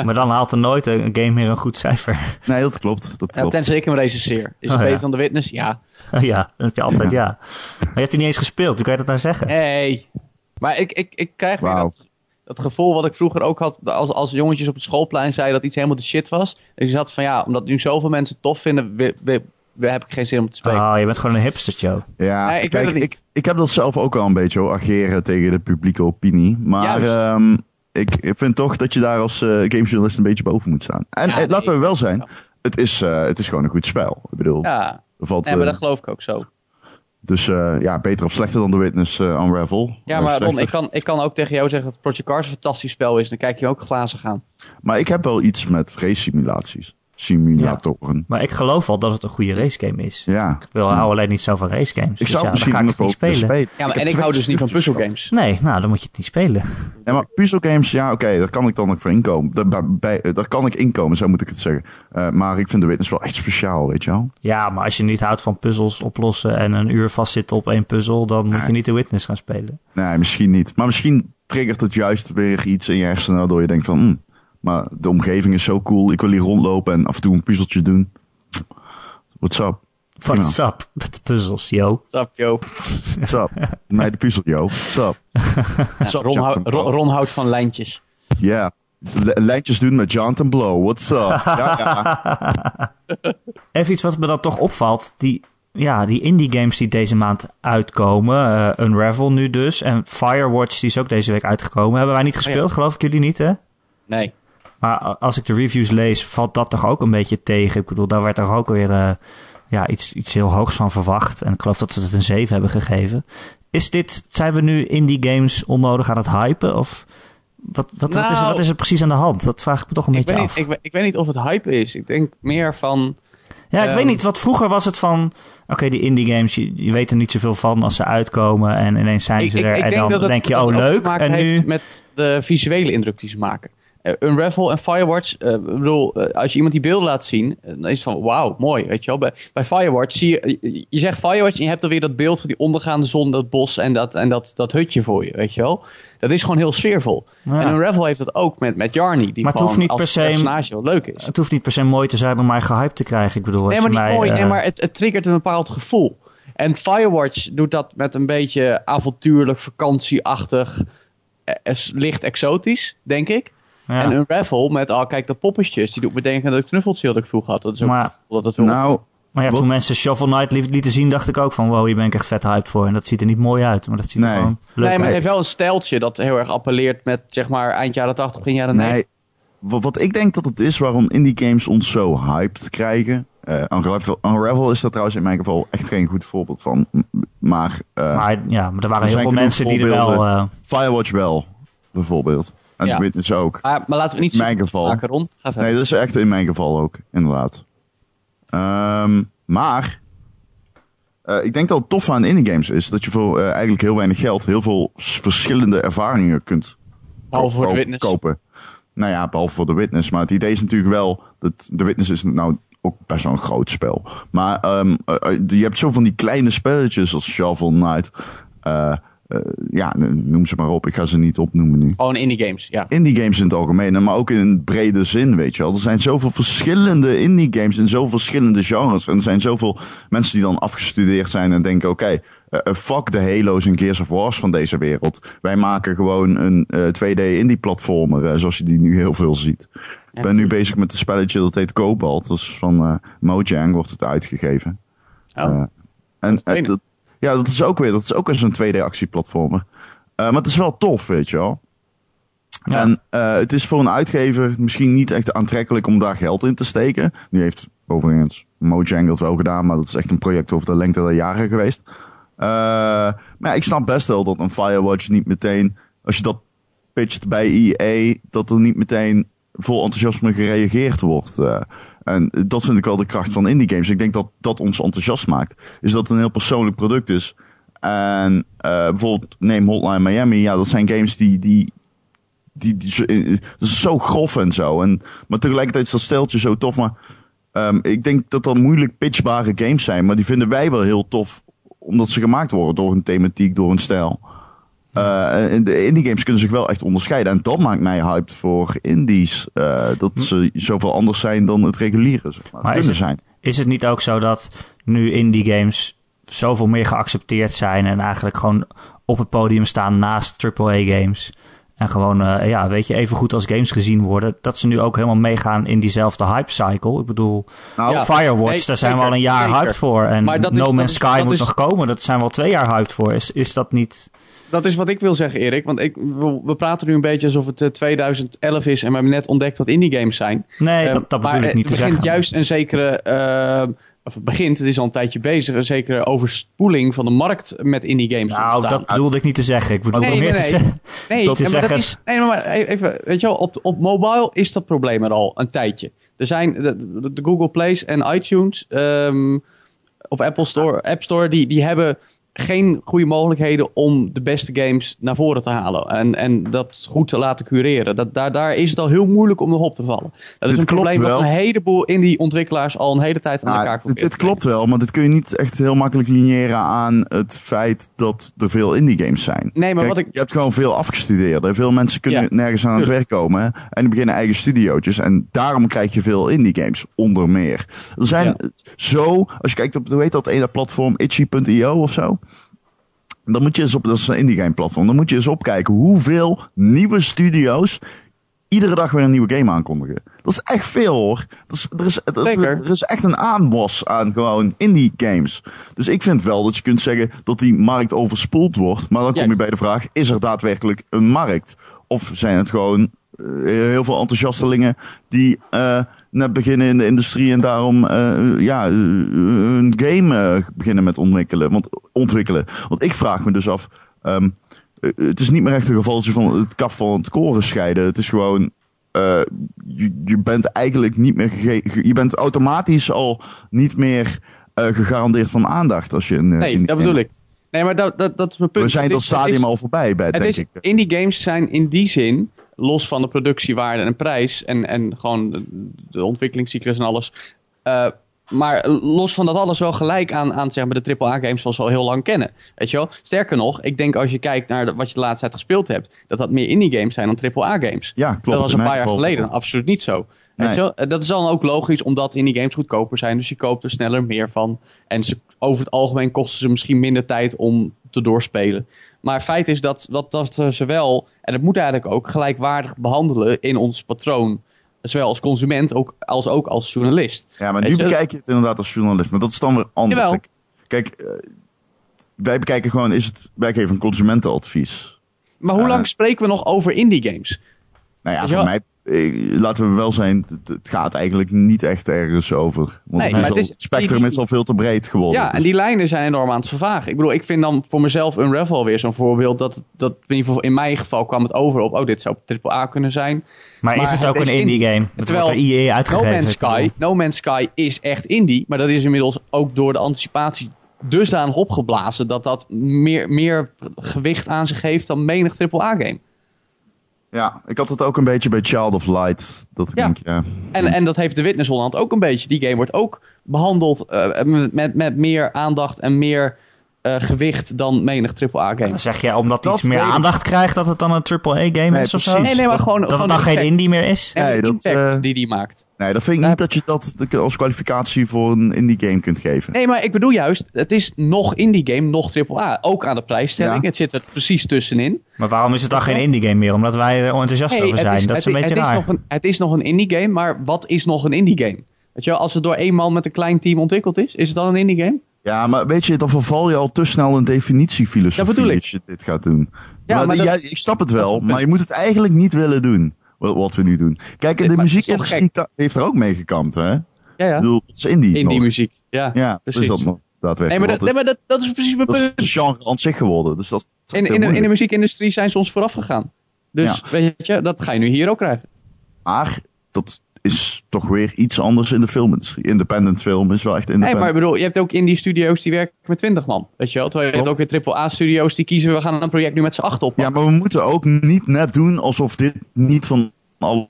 Maar dan haalt er nooit een een game meer een goed cijfer. nee, dat klopt. Dat Ja, klopt. tenzij ik hem recenseer. Is het Oh, ja. beter dan de witness? Ja. Oh ja, dat heb je altijd, ja. Maar je hebt die niet eens gespeeld, hoe kan je dat nou zeggen? Hey. Maar ik, ik, ik krijg weer Wauw. dat, dat gevoel wat ik vroeger ook had als, als jongetjes op het schoolplein zeiden dat iets helemaal de shit was. Dus ik zat van ja, omdat nu zoveel mensen het tof vinden, we, we, we- heb ik geen zin om te spelen. Oh, je bent gewoon een hipster, Joe. Ja, Nee, ik kijk, weet het ik, niet. ik heb dat zelf ook al een beetje hoor, ageren tegen de publieke opinie. Maar Juist. ehm, ik ik vind toch dat je daar als eh, gamejournalist een beetje boven moet staan. En Ja, eh, nee, laten we ik- wel zijn, het is, eh, het is gewoon een goed spel. Ik bedoel, ja, er valt, nee, maar eh, dat geloof ik ook zo. dus eh, ja, beter of slechter dan The Witness eh, Unravel. Ja, Eh, maar Ron, slechter. ik kan, ik kan ook tegen jou zeggen dat Project Cars een fantastisch spel is. Dan kijk je ook glazig aan. Maar ik heb wel iets met race simulaties. simulatoren. Maar ik geloof wel dat het een goede racegame is. Ja. Ik wil, hou alleen niet zo van racegames. Ik Dus zou ja, het dan ga misschien ik nog het wel niet spelen. spelen. Ja, maar, heb en ik twee hou dus niet van stukjes gehad. puzzelgames. Nee, nou, dan moet je het niet spelen. Ja, maar puzzelgames, ja, oké, daar kan ik dan ook voor inkomen. Daar, bij- bij, eh, daar kan ik inkomen, zo moet ik het zeggen. Eh, maar ik vind de witness wel echt speciaal, weet je wel. Ja, maar als je niet houdt van puzzels oplossen en een uur vastzitten op één puzzel, dan moet je niet de Witness gaan spelen. Nee, misschien niet. Maar misschien triggert het juist weer iets in je hersenen, waardoor je denkt van... hm, maar de omgeving is zo cool, ik wil hier rondlopen en af en toe een puzzeltje doen. What's up? What's up met de puzzels, yo? What's up, yo? What's up? Mij de puzzel, yo. What's up? What's up, Ron, hou- Jonathan Ron, Blow? Ron houdt van lijntjes. Ja. L- Lijntjes doen met Jonathan Blow. What's up? Ja, ja. Even iets wat me dan toch opvalt. Die, ja, die indie games die deze maand uitkomen. eh, Unravel nu dus. En Firewatch, die is ook deze week uitgekomen. Hebben Oh wij niet gespeeld, geloof ik jullie niet, hè? Nee. Maar a- als ik de reviews lees, valt dat toch ook een beetje tegen. Ik bedoel, daar werd toch ook weer eh, ja, iets, iets heel hoogs van verwacht. En ik geloof dat ze het een 7 hebben gegeven. Is dit, zijn we nu indie games onnodig aan het hypen? Of wat, wat, wat, is, er- Nou, wat is er precies aan de hand? Dat vraag ik me toch een Ik beetje weet, niet, af. ik, we- ik weet niet of het hype is. Ik denk meer van... ja, ik ehm, weet niet. Wat vroeger was het van, oké, die indie games, je, je weet er niet zoveel van als ze uitkomen. En ineens zijn Ik, ze ik, er. ik en denk dan dat het, denk je, dat oh het ook leuk. te maken En heeft nu, met de visuele indruk die ze maken. Eh, Unravel en Firewatch, eh, ik bedoel, eh, als je iemand die beelden laat zien, eh, dan is het van wauw, mooi, weet je wel. Bij, bij Firewatch zie je, je- je zegt Firewatch en je hebt alweer dat beeld van die ondergaande zon, dat bos en dat, en dat, dat hutje voor je, weet je wel. Dat is gewoon heel sfeervol. Ja. En Unravel heeft dat ook met, met Jarny, die Maar het gewoon hoeft niet als per se- personage heel leuk is. het hoeft niet per se mooi te zijn om mij gehyped te krijgen. Ik bedoel, als je Nee, maar niet mij, mooi. eh, Nee, maar het, het triggert een bepaald gevoel. En Firewatch doet dat met een beetje avontuurlijk, vakantieachtig, eh, eh, licht exotisch, denk ik. ja. En Unravel met, oh kijk, dat poppetjes. Die doet me denken aan dat knuffeltje dat ik vroeger had. Dat is ook Maar- het gevoel dat het wil. nou, Maar ja, Wat- toen mensen Shovel Knight liet- lieten zien, dacht ik ook van... wow, hier ben ik echt vet hyped voor. En dat ziet er niet mooi uit, maar dat ziet er Nee. gewoon leuk Nee, maar het uit. heeft wel een stijltje dat heel erg appelleert met, zeg maar, eind jaren 80, begin jaren 90. Nee. Wa- Wat ik denk dat het is waarom indie games ons zo hyped krijgen. Eh, Unravel, Unravel is daar trouwens in mijn geval echt geen goed voorbeeld van. M- Maar, eh, Maar ja, maar er waren heel Er zijn veel genoeg mensen die er wel... voorbeelden. eh, Firewatch wel, bijvoorbeeld. En Ja. Ah, The Witness ook. Maar, maar laten we niet In mijn zo geval. maken, Ron. Ga verder. Nee, dat is echt in mijn geval ook, inderdaad. Ehm, maar eh, ik denk dat het tof aan indie games is dat je voor eh, eigenlijk heel weinig geld heel veel s- verschillende ervaringen kunt Behalve voor de ko- witness. kopen. Nou ja, behalve voor de Witness. Maar het idee is natuurlijk wel dat de Witness is nou ook best wel een groot spel. Maar ehm, eh, eh, je hebt zo van die kleine spelletjes als Shovel Knight. Eh, eh, ja, noem ze maar op. Ik ga ze niet opnoemen nu Gewoon Oh, indie games, ja. indie games in het algemeen, maar ook in een brede zin, weet je wel. Er zijn zoveel verschillende indie games in zoveel verschillende genres. En er zijn zoveel mensen die dan afgestudeerd zijn en denken, oké, eh, eh, fuck de Halo's en Gears of Wars van deze wereld. Wij maken gewoon een eh, 2D indie platformer, eh, zoals je die nu heel veel ziet. Ik ben nu bezig met een spelletje dat heet Cobalt. Dat is van eh, Mojang, wordt het uitgegeven. Oh. Eh, en is eh, dat, ja, dat is ook weer, dat is ook weer zo'n 2D-actieplatformer. Eh, maar het is wel tof, weet je wel. Ja. En eh, het is voor een uitgever misschien niet echt aantrekkelijk om daar geld in te steken. Nu heeft overigens Mojang dat wel gedaan, maar dat is echt een project over de lengte der jaren geweest. Eh, maar ja, ik snap best wel dat een Firewatch niet meteen, als je dat pitcht bij EA, dat er niet meteen vol enthousiasme gereageerd wordt. eh. en dat vind ik wel de kracht van indie games. Ik denk dat dat ons enthousiast maakt. Is dat het een heel persoonlijk product is. En eh, bijvoorbeeld neem Hotline Miami. Ja, dat zijn games die, die, die, die zo- eh, dat is zo grof en zo. En, maar tegelijkertijd is dat steltje zo tof. Maar ehm, ik denk dat dat moeilijk pitchbare games zijn. Maar die vinden wij wel heel tof. Omdat ze gemaakt worden door een thematiek, door een stijl. Eh, en de indie games kunnen zich wel echt onderscheiden. En dat maakt mij hyped voor indies. eh, dat ze zoveel anders zijn dan het reguliere. Zeg maar. Maar is kunnen het- zijn. is het niet ook zo dat nu indie games zoveel meer geaccepteerd zijn... en eigenlijk gewoon op het podium staan naast AAA-games... en gewoon, eh, ja, weet je, even goed als games gezien worden... dat ze nu ook helemaal meegaan in diezelfde hype-cycle? Ik bedoel... Nou, Ja. Firewatch, Nee, daar zijn we zeker, al een jaar zeker. hyped voor. En Maar dat is- No dat Man's is- Sky dat moet is- nog komen. Dat zijn we al twee jaar hyped voor. Is, is dat niet... Dat is wat ik wil zeggen, Erik. Want ik, we, we praten nu een beetje alsof het eh, 2011 is en we hebben net ontdekt dat indie games zijn. Nee, Ehm, dat, dat bedoel maar, ik eh, niet te Er zeggen. begint juist een zekere ehm, of het begint, het is al een tijdje bezig, een zekere overspoeling van de markt met indie games. Dus Nou, ontstaan. dat bedoelde ik niet te zeggen. Ik bedoel Nee, meer nee, te nee. zeggen. Nee, Dat dat is maar dat zeggen- is, nee, maar e- even, weet je wel, op, op mobile is dat probleem er al een tijdje. Er zijn de, de- de Google Plays en iTunes ehm, of Apple Store, App Store, die, die hebben geen goede mogelijkheden om de beste games naar voren te halen. En, en dat goed te laten cureren. Dat, daar, daar is het al heel moeilijk om nog op te vallen. Dat Dit is een klopt probleem wel. dat een heleboel indie-ontwikkelaars al een hele tijd aan Nou, elkaar dit, proberen dit te klopt wel, maar dit kun je niet echt heel makkelijk lineaire aan het feit dat er veel indie games zijn. Nee, maar Kijk, wat ik- Je hebt gewoon veel afgestudeerden. Veel mensen kunnen Ja, nergens aan het werk komen en die beginnen eigen studiootjes. En daarom krijg je veel indie games, onder meer. Er zijn Ja. zo, als je kijkt op, hoe heet dat ene platform, itchy.io of zo? Dan moet je eens op, dat is een indie game platform, dan moet je eens opkijken hoeveel nieuwe studio's iedere dag weer een nieuwe game aankondigen. Dat is echt veel hoor. Dat is, er, is, er- er- Zeker. er is echt een aanwas aan gewoon indie games. Dus ik vind wel dat je kunt zeggen dat die markt overspoeld wordt. Maar dan kom je Juist. bij de vraag, is er daadwerkelijk een markt? Of zijn het gewoon eh, heel veel enthousiastelingen die eh, net beginnen in de industrie en daarom eh, ja, eh, een game eh, beginnen met ontwikkelen. Want, ontwikkelen. Want ik vraag me dus af, ehm, eh, het is niet meer echt een gevaltje van het kaf van het koren scheiden. Het is gewoon, eh, je, je bent eigenlijk niet meer, gege- ge- je bent automatisch al niet meer eh, gegarandeerd van aandacht als je een. eh, Nee, in- dat bedoel ik. Nee, maar dat, dat, dat is mijn punt. We zijn Het dat is- het stadium is- al voorbij, bij, denk Het is, ik. eh. Indie games zijn in die zin, los van de productiewaarde en prijs en, en gewoon de, de ontwikkelingscyclus en alles. eh, maar los van dat alles wel gelijk aan, aan zeg maar de AAA games zoals we al heel lang kennen. Weet je wel? Sterker nog, ik denk als je kijkt naar de- wat je de laatste tijd gespeeld hebt, dat dat meer indie games zijn dan AAA games. Ja, klopt. dat in was een mijn paar jaar geval. geleden absoluut niet zo. Nee. Weet je wel? Eh, Dat is dan ook logisch, omdat indie games goedkoper zijn. Dus je koopt er sneller meer van. En ze, over het algemeen kosten ze misschien minder tijd om te doorspelen. Maar feit is dat, dat, dat eh, ze wel, en dat moet eigenlijk ook, gelijkwaardig behandelen in ons patroon. Zowel als consument ook, als ook als journalist. Ja, maar Weet nu je? bekijk je het inderdaad als journalist. Maar dat is dan weer anders. Jawel. Ik- Kijk, eh, wij bekijken gewoon, is het, wij geven een consumentenadvies. Maar hoe Ja. lang spreken we nog over indie games? Nou ja, Weet je voor mij, eh, laten we wel zijn, het, het gaat eigenlijk niet echt ergens over. Want Nee, het, is maar al- het is- het spectrum die- is al veel te breed geworden. Ja, Dus- en die lijnen zijn enorm aan het vervagen. Ik bedoel, ik vind dan voor mezelf Unravel weer zo'n voorbeeld. Dat, dat in ieder geval in mijn geval kwam het over op, oh, dit zou AAA kunnen zijn. Maar, is Maar het het ook een is indie indie. game? Het Terwijl wordt door EA No uitgegeven. Man's Ik bedoel- Sky, No Man's Sky is echt indie, maar dat is inmiddels ook door de anticipatie dusdanig opgeblazen dat dat meer, meer gewicht aan zich heeft dan menig AAA-game. ja, ik had het ook een beetje bij Child of Light. Dat ik Ja. denk, ja. En, en dat heeft de Witness Holland ook een beetje. Die game wordt ook behandeld eh, met, met meer aandacht en meer eh, gewicht dan menig AAA-game. Dan zeg je, omdat Dat iets meer weet ik. aandacht krijgt, dat het dan een AAA-game Nee, is of zo? precies. Nee, nee, maar gewoon, Dat gewoon het dan de geen effect indie meer is? en de Nee, dat, impact eh, die die maakt. Nee, dat vind ik Ja. niet dat je dat als kwalificatie voor een indie game kunt geven. Nee, maar ik bedoel juist, het is nog indie game, nog AAA. Ook aan de prijsstelling, Ja. het zit er precies tussenin. Maar waarom is het dan geen indie game meer? Omdat wij er enthousiast Hey, over zijn. dat is een beetje het raar. nog een, het is nog een indie game, maar wat is nog een indie game? Weet je wel, als het door één man met een klein team ontwikkeld is, is het dan een indie game? Ja, maar weet je, dan verval je al te snel een definitiefilosofie Dat bedoel ik. als je dit gaat doen. Ja, maar maar dat- ja, ik snap het wel, maar je moet het eigenlijk niet willen doen, wat, wat we nu doen. Kijk, Nee, de maar het is muziekindustrie ka- heeft er ook mee gekampt, hè? Ja, Ik ja. bedoel, het is indie Indie nog. muziek. Ja, Ja, precies. dus dat nog nee, daadwerkelijk. maar, dat, nee, maar dat, dat is precies mijn dat is punt. een genre aan zich geworden, dus dat is heel In, in, de, in de moeilijk. muziekindustrie zijn ze ons vooraf gegaan. Dus weet je, dat ga je nu hier ook krijgen. Maar dat is toch weer iets anders in de filmindustrie. Independent film is wel echt Nee, independent. maar ik bedoel, je hebt ook indie studio's die werken met 20 man. Weet je wel, terwijl je hebt ook Klopt. weer AAA studio's die kiezen, we gaan een project nu met z'n acht op. Ja, maar we moeten ook niet net doen alsof dit niet van alle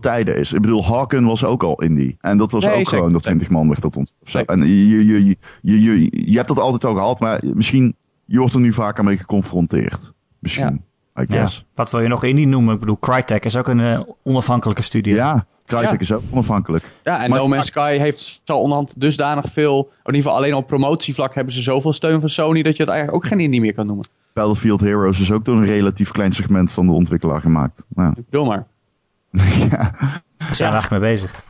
tijden is. Ik bedoel, Hawken was ook al indie. En dat was Nee, ook zeker. gewoon dat 20 man werd dat ons. of zo. Zeker. En je, je, je, je, je, je hebt dat altijd al gehad, maar misschien, je wordt er nu vaker mee geconfronteerd. Misschien, I Ja. guess. Wat wil je nog indie noemen? Ik bedoel, Crytek is ook een eh, onafhankelijke studio. Ja, Crytek Ja. is ook onafhankelijk. Ja, en Maar- No Man's Sky heeft zo onderhand dusdanig veel... In ieder geval alleen op promotievlak hebben ze zoveel steun van Sony... dat je het eigenlijk ook geen indie meer kan noemen. Battlefield Heroes is ook door een relatief klein segment van de ontwikkelaar gemaakt. Nou, Ik bedoel maar. Daar zijn we eigenlijk mee bezig.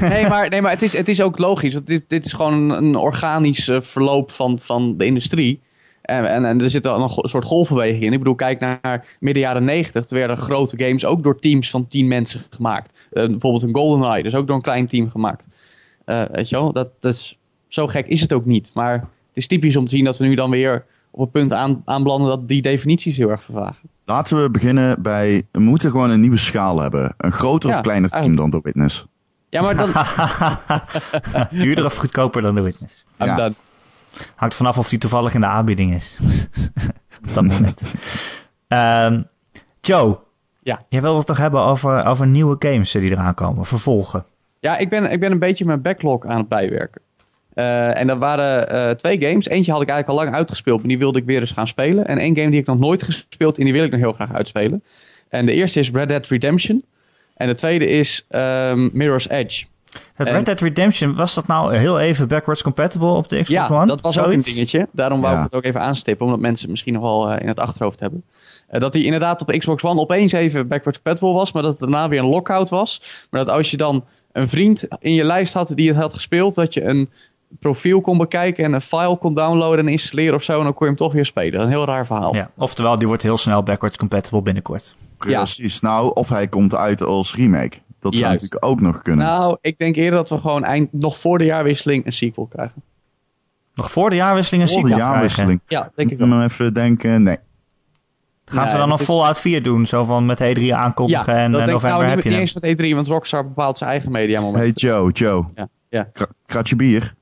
Nee, maar, nee, maar het, is, het is ook logisch. Want dit, dit is gewoon een, een organisch eh, verloop van, van de industrie. En, en, en er zit dan een go- soort golfbeweging in. Ik bedoel, kijk naar midden jaren negentig. Er werden grote games ook door teams van tien mensen gemaakt. Eh, bijvoorbeeld een GoldenEye, dat is ook door een klein team gemaakt. Eh, weet je wel, dat, dat is... zo gek is het ook niet. Maar het is typisch om te zien dat we nu dan weer op een punt aan, aanbelanden dat die definities heel erg vervagen. Laten we beginnen bij. We moeten gewoon een nieuwe schaal hebben. Een groter of Ja, kleiner team dan The Witness. Ja, maar dan... Duurder of goedkoper dan de Witness. I'm Ja. done. Hangt vanaf of die toevallig in de aanbieding is. Op dat moment. Ehm, Joe. Ja. Je wilde het toch hebben over, over nieuwe games eh, die eraan komen. Vervolgen. Ja, ik ben, ik ben een beetje mijn backlog aan het bijwerken. Eh, en dat waren eh, twee games. Eentje had ik eigenlijk al lang uitgespeeld, maar die wilde ik weer eens gaan spelen. En één game die ik nog nooit gespeeld en die wil ik nog heel graag uitspelen. En de eerste is Red Dead Redemption. En de tweede is ehm, Mirror's Edge. Het En- Red Dead Redemption, was dat nou heel even backwards compatible op de Xbox Ja, One? dat was ook een Zoiets? dingetje. Daarom wou Ja. ik het ook even aanstippen, omdat mensen het misschien nog wel eh, in het achterhoofd hebben. Eh, dat hij inderdaad op Xbox One opeens even backwards compatible was, maar dat het daarna weer een lockout was. Maar dat als je dan een vriend in je lijst had die het had gespeeld, dat je een profiel kon bekijken en een file kon downloaden en installeren of zo. En dan kon je hem toch weer spelen. Een heel raar verhaal. Ja, oftewel, die wordt heel snel backwards compatible binnenkort. Precies. Nou, of hij komt uit als remake. Dat zou Juist. natuurlijk ook nog kunnen. Nou, ik denk eerder dat we gewoon eind, nog voor de jaarwisseling een sequel krijgen. Nog voor de jaarwisseling een Voor sequel de krijgen. jaarwisseling. Ja, denk ik Ik wel. hem even denken. Nee. Gaan ze Nee, dan dat een is- Fallout 4 doen? Zo van met de E3 aankondigen en dat eh, denk ik november nou heb niet, je niet hem. eens met E3, want Rockstar bepaalt zijn eigen media moment. Hey Joe, Joe. Ja, ja. Eh. Kra- Kratje bier.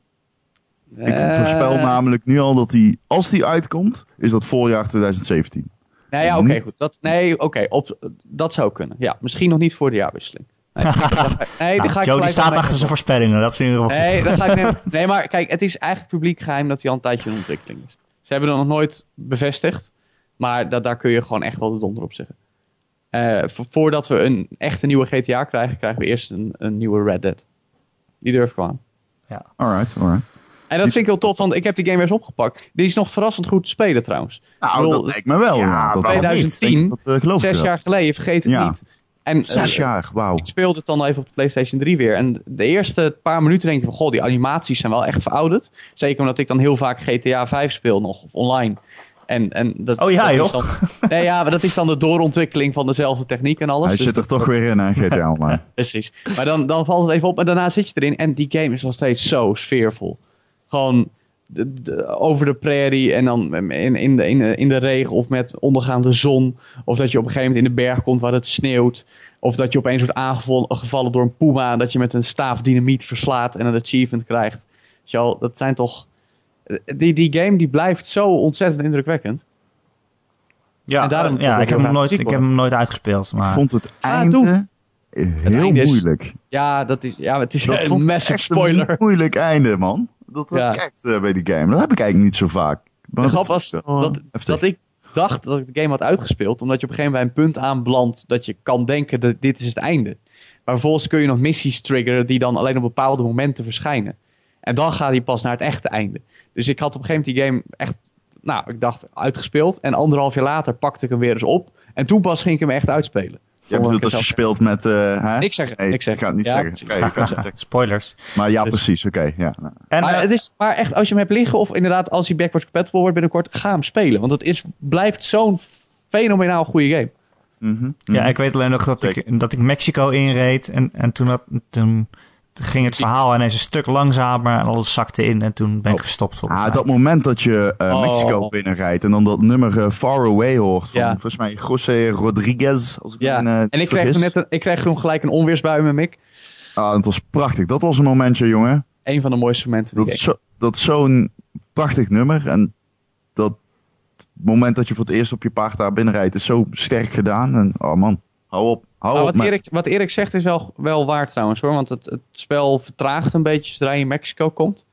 Ik voorspel namelijk nu al dat die, als die uitkomt, is dat voorjaar 2017. Nou ja, oké, Niet. goed. Dat, nee, oké, op- dat zou kunnen. Ja, misschien nog niet voor de jaarwisseling. Nee, nee, Nou, daar ga ik Joe die gelijk staat aan achter zijn voorspellingen. Dat is in ieder geval mijn- goed. Nee, dat ga ik niet- nee, maar kijk, het is eigenlijk publiek geheim dat hij al een tijdje in ontwikkeling is. Ze hebben dat nog nooit bevestigd, maar dat, daar kun je gewoon echt wel de donder op zeggen. Eh, vo- voordat we een echte nieuwe GTA krijgen, krijgen we eerst een, een nieuwe Red Dead. Die durf ik wel aan. Alright, alright. En dat vind ik heel tof, want ik heb die game weer eens opgepakt. Die is nog verrassend goed te spelen trouwens. Ik Nou, bedoel, dat lijkt me wel. Ja, ja. Dat- waarom niet? 2010, dat, eh, geloof ik zes wel. jaar geleden, vergeet het Ja. niet. En, eh, Zes jaar, wauw. Ik speelde het dan even op de PlayStation 3 weer. En de eerste paar minuten denk je van... Goh, die animaties zijn wel echt verouderd. Zeker omdat ik dan heel vaak GTA 5 speel nog. Of online. En, en dat, Oh ja, dat joh. Is dan, nee, ja, maar dat is dan de doorontwikkeling van dezelfde techniek en alles. Hij Dus zit er toch weer in, hè, GTA Online. Precies. Maar dan, dan valt het even op en daarna zit je erin. En die game is nog steeds zo sfeervol. Gewoon de- de- over de prairie en dan in, in, de, in, de, in de regen of met ondergaande zon. Of dat je op een gegeven moment in de berg komt waar het sneeuwt. Of dat je opeens wordt aangevallen door een puma. En dat je met een staaf dynamiet verslaat en een achievement krijgt. Weet je wel, dat zijn toch... eh, Die, die game die blijft zo ontzettend indrukwekkend. Ja, En daarom eh, ja wil ik, heb ik heel hem graag nooit, ik sequel. heb hem nooit uitgespeeld. Ik Maar vond het Ah, einde doe. heel einde is- moeilijk. Ja, dat is, ja, het is Dat vond een ik massive echt een spoiler. moeilijk einde, man. Dat dat Ja. ik echt eh, bij die game. Dat heb ik eigenlijk niet zo vaak. Maar De dat- grap was oh, dat, heftig. dat ik dacht dat ik de game had uitgespeeld. Omdat je op een gegeven moment bij een punt aanbelandt dat je kan denken dat dit is het einde. Maar vervolgens kun je nog missies triggeren die dan alleen op bepaalde momenten verschijnen. En dan gaat hij pas naar het echte einde. Dus ik had op een gegeven moment die game echt, nou, ik dacht uitgespeeld. En anderhalf jaar later pakte ik hem weer eens op. En toen pas ging ik hem echt uitspelen. Jij Zonder bedoelt dat ik als je het zelf- speelt met... eh hè? Niks zeggen, Nee, niks ik ga zeggen. het niet Ja, zeggen. precies. Oké, ik ga het zeggen. spoilers. Maar ja, Dus- precies. Oké, ja. nou. En Maar eh, het is maar echt, als je hem hebt liggen of inderdaad als hij backwards compatible wordt binnenkort, ga hem spelen. Want het is, blijft zo'n fenomenaal goede game. Mhm. Ja, ik weet alleen nog dat ik, dat ik Mexico inreed. En, en toen, had, toen ging het verhaal ineens een stuk langzamer. En alles zakte in. En toen ben ik Oh. gestopt. volgens Ah, mij. dat moment dat je eh, Oh. Mexico binnenrijdt en dan dat nummer eh, Far Away hoort van Ja. volgens mij José Rodriguez. Als ik Ja, me, eh, niet en ik kreeg, vergis. toen net een, ik kreeg toen gelijk een onweersbui in mijn mik. Ah, dat was prachtig. Dat was een momentje, jongen. Een van de mooiste momenten. Dat Die is ik zo- dat is zo'n prachtig nummer. En dat moment dat je voor het eerst op je paard daar binnenrijdt is zo sterk gedaan. En, oh man, hou op. Hou op maar Oh, wat, met- Erik, wat Erik zegt is wel, wel waar trouwens hoor. Want het, het spel vertraagt een beetje zodra je in Mexico komt.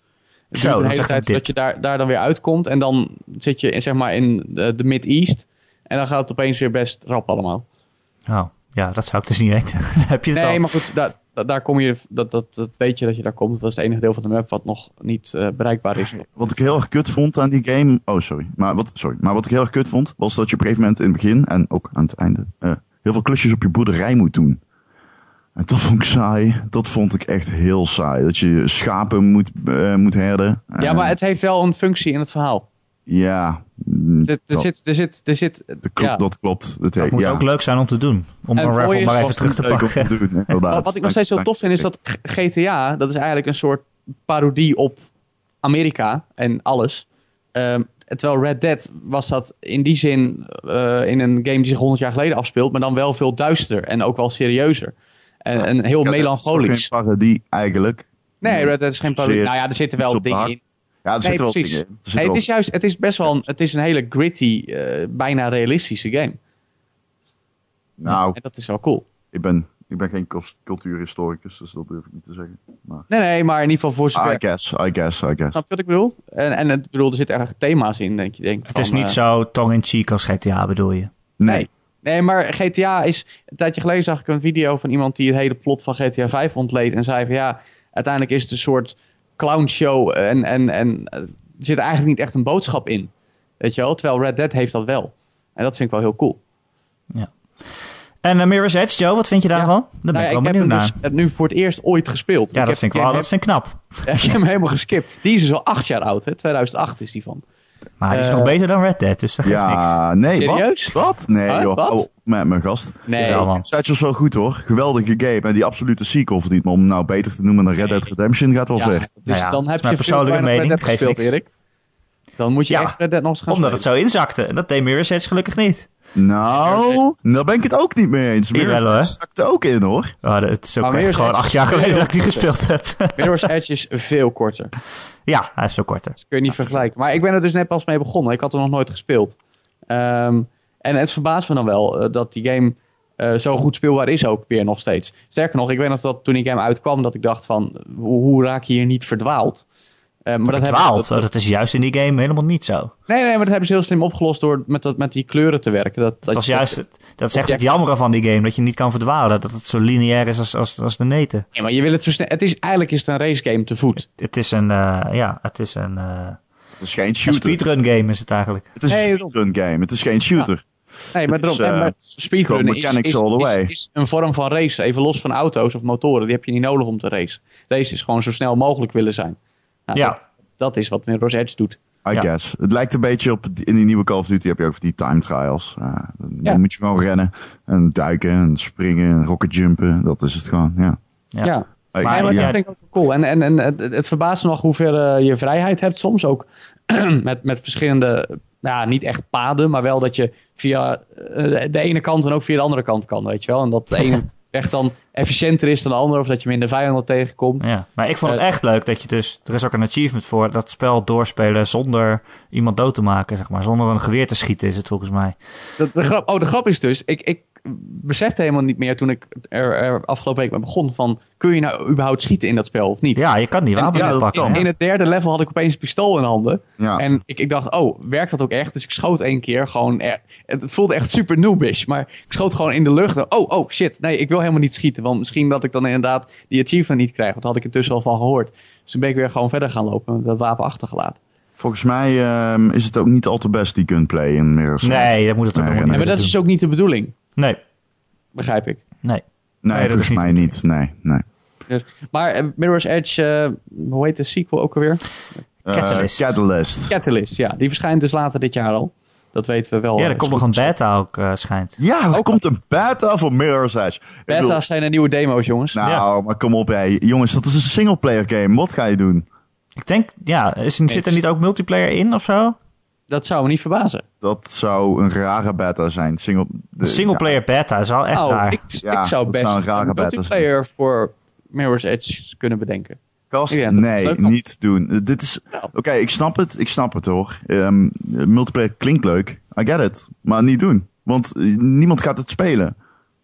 Het Zo, duurt dat de is hele echt tijd een dat je daar, daar dan weer uitkomt. En dan zit je in, zeg maar in de, de Mid-East. En dan gaat het opeens weer best rap allemaal. Oh, ja, dat zou ik dus niet weten. Heb je het Nee, al? maar goed, daar, daar- daar kom je, dat, dat, dat weet je dat je daar komt. Dat is het enige deel van de map wat nog niet eh, bereikbaar is. Wat ik heel erg kut vond aan die game. Oh, sorry. Maar wat, sorry. Maar wat ik heel erg kut vond, was dat je op een gegeven moment in het begin en ook aan het einde eh, heel veel klusjes op je boerderij moet doen. En dat vond ik saai. Dat vond ik echt heel saai. Dat je schapen moet, eh, moet herden. Ja, Eh, maar het heeft wel een functie in het verhaal. Ja, Er, er dat, zit, er zit, er zit, dat klopt. ja. Dat klopt. Dat, Dat moet ja. ook leuk zijn om te doen. Om En een voor raffle je maar even was terug te Leuk om pakken. te doen, Oh, inderdaad. Wat, wat ik nog steeds heel Dank- tof vind is dat G- GTA, dat is eigenlijk een soort parodie op Amerika en alles. Ehm, terwijl Red Dead was dat in die zin eh, in een game die zich 100 jaar geleden afspeelt, maar dan wel veel duisterder en ook wel serieuzer. En, en Ja, dat is heel toch melancholisch. geen parodie eigenlijk. Nee, Red Dead is geen parodie. Nou ja, er zitten Iets wel op de dingen hak. in. Ja, er Nee, zitten wel precies. dingen in. Er zitten Hey, het wel- is juist, het is best wel, een, het is een hele gritty, eh, bijna realistische game. Nou, En dat is wel cool. ik ben, ik ben geen cult- cultuurhistoricus, dus dat durf ik niet te zeggen. Nee, nee, maar in ieder geval voor zover. Ah, I guess, I guess, I guess. Snap je wat ik bedoel? En, en het, ik bedoel, er zitten eigenlijk thema's in, denk je. Denk eh, Het is niet eh, zo. zo tong-in-cheek als GTA, bedoel je? Nee. Nee. Nee, maar GTA is... Een tijdje geleden zag ik een video van iemand die het hele plot van GTA 5 ontleed. En zei van ja, uiteindelijk is het een soort clownshow. En, en, en eh, er zit eigenlijk niet echt een boodschap in. Weet je wel? Terwijl Red Dead heeft dat wel. En dat vind ik wel heel cool. En eh, Mirror's Edge, Joe, wat vind je daarvan? Daar ben Nou ik ja, wel ik heb benieuwd hem naar. dus eh, nu voor het eerst ooit gespeeld. ja, dat vind ik wel. Dat vind ik knap. Ik heb hem helemaal geskipt. Die is dus al acht jaar oud, hè? 2008 is die van. Maar hij is Eh, nog beter dan Red Dead, dus dat geeft niks. Ja, nee, Serieus? wat? Wat? Nee, Huh? joh. Wat? Hou op met mijn gast. Nee, Ja, man. Such was wel goed hoor. Geweldige game. En die absolute sequel verdient. Maar om hem nou beter te noemen dan Red Dead Redemption gaat wel Ja, ver. dus Nou ja, dan dat heb is mijn je veel persoonlijke weinig Red mening, Dead geeft gespeeld, niks. Erik. Dan moet je Ja, echt Red Dead nog eens gaan Omdat het zo inzakte. En dat deed Mirror's Edge gelukkig niet. Nou, daar ben ik het ook niet mee eens. Jawel, Mirror's hoor. Edge zakt er ook in hoor. Oh, dat- het is ook echt Maar Mirror's gewoon Edge acht jaar is geleden heel dat ik die goed, hè? gespeeld heb. Mirror's Edge is veel korter. Dat ja, hij is zo korter. kun je niet vergelijken. Maar ik ben er dus net pas mee begonnen. Ik had er nog nooit gespeeld. Ehm, en het verbaast me dan wel eh, dat die game eh, zo goed speelbaar is ook weer nog steeds. Sterker nog, ik weet nog dat toen die game uitkwam dat ik dacht van... Hoe, hoe raak je hier niet verdwaald? Eh, maar dat hebben ze- Verdwaald. Oh, Dat is juist in die game helemaal niet zo. nee, nee, maar dat hebben ze heel slim opgelost door met, dat, met die kleuren te werken. Dat, dat Dat, was je- juist, het- dat is echt het jammeren van die game, dat je niet kan verdwalen. Dat het zo lineair is als, als, als de neten. Nee, maar je wil het zo snel... Het is, eigenlijk is het een race game te voet. Het is een, eh, ja, het is een, eh, Het is geen een shooter. speedrun game is het eigenlijk. Het is Nee, een dat- speedrun game. Het is geen shooter. Nee, maar, Het is, daarom, nee, eh, maar speedrunnen gewoon is, mechanics is, all the is- way. is een vorm van race. Even los van auto's of motoren, die heb je niet nodig om te racen. Race is gewoon zo snel mogelijk willen zijn. Nou, Ja. dat, dat is wat Mirror's Edge doet. I Ja. guess. Het lijkt een beetje op in die nieuwe Call of Duty heb je ook die time trials. Eh, dan Ja. moet je gewoon rennen en duiken en springen en rocket jumpen. Dat is het gewoon. Ja. Ja. Ja. Hey, Maar- Nee, maar ja. dat vind ik ook wel cool. En, en, en het, het verbaast me nog hoe ver eh, je vrijheid hebt soms ook. met, met verschillende, nou, niet echt paden, maar wel dat je via eh, de ene kant en ook via de andere kant kan, weet je wel. En dat de ene weg dan efficiënter is dan de andere, of dat je minder vijanden tegenkomt. Ja, maar ik vond het Eh, echt leuk dat je dus... Er is ook een achievement voor dat spel doorspelen zonder iemand dood te maken, zeg maar. Zonder een geweer te schieten is het volgens mij. De, de grap, oh, de grap is dus, ik, ik besefte helemaal niet meer toen ik er, er afgelopen week mee begon van, kun je nou überhaupt schieten in dat spel of niet? Ja, je kan die En wapens ja, dat pakken. kan. hè? In het derde level had ik opeens een pistool in de handen. Ja. En ik, ik dacht, oh, werkt dat ook echt? Dus ik schoot één keer gewoon. Er, het, het voelde echt super noobish. Maar ik schoot gewoon in de lucht. En, oh, oh, shit. Nee, ik wil helemaal niet schieten. Want misschien dat ik dan inderdaad die achievement niet krijg. Want daar had ik intussen al van gehoord. Dus toen ben ik weer gewoon verder gaan lopen. Met dat wapen achtergelaten. Volgens mij ehm, is het ook niet al te best die gunplay in Mirror's Edge. Nee, dat moet het ook helemaal Nee, nee, niet Nee, maar dat is doen. dus ook niet de bedoeling. Nee, Begrijp ik. nee. Nee, dat volgens is niet- mij niet. Nee, nee. Dus, maar eh, Mirror's Edge, eh, hoe heet de sequel ook alweer? Eh, Catalyst. Catalyst. Catalyst, ja. Die verschijnt dus later dit jaar al. Dat weten we wel. Ja, eh, er is komt nog goed. een beta ook, eh, schijnt. Ja, er komt een beta voor Mirror's Edge. Ik bedoel, Beta's zijn de nieuwe demo's, jongens. nou, Ja. maar kom op, hé. jongens, dat is een singleplayer game. Wat ga je doen? Ik denk, ja, is, zit er Eens. niet ook multiplayer in of zo? Dat zou me niet verbazen. Dat zou een rare beta zijn. Single, de- Een singleplayer beta is wel echt Nou, raar. ik, Ja, ik zou dat zou een best rare een battle multiplayer voor Mirror's Edge kunnen bedenken. Kast? Ja, dat is nee, leuk dan. niet doen. Eh, Dit is. Nou. Oké, ik snap het. Ik snap het hoor. Ehm, multiplayer klinkt leuk. I get it. Maar niet doen. Want eh, niemand gaat het spelen.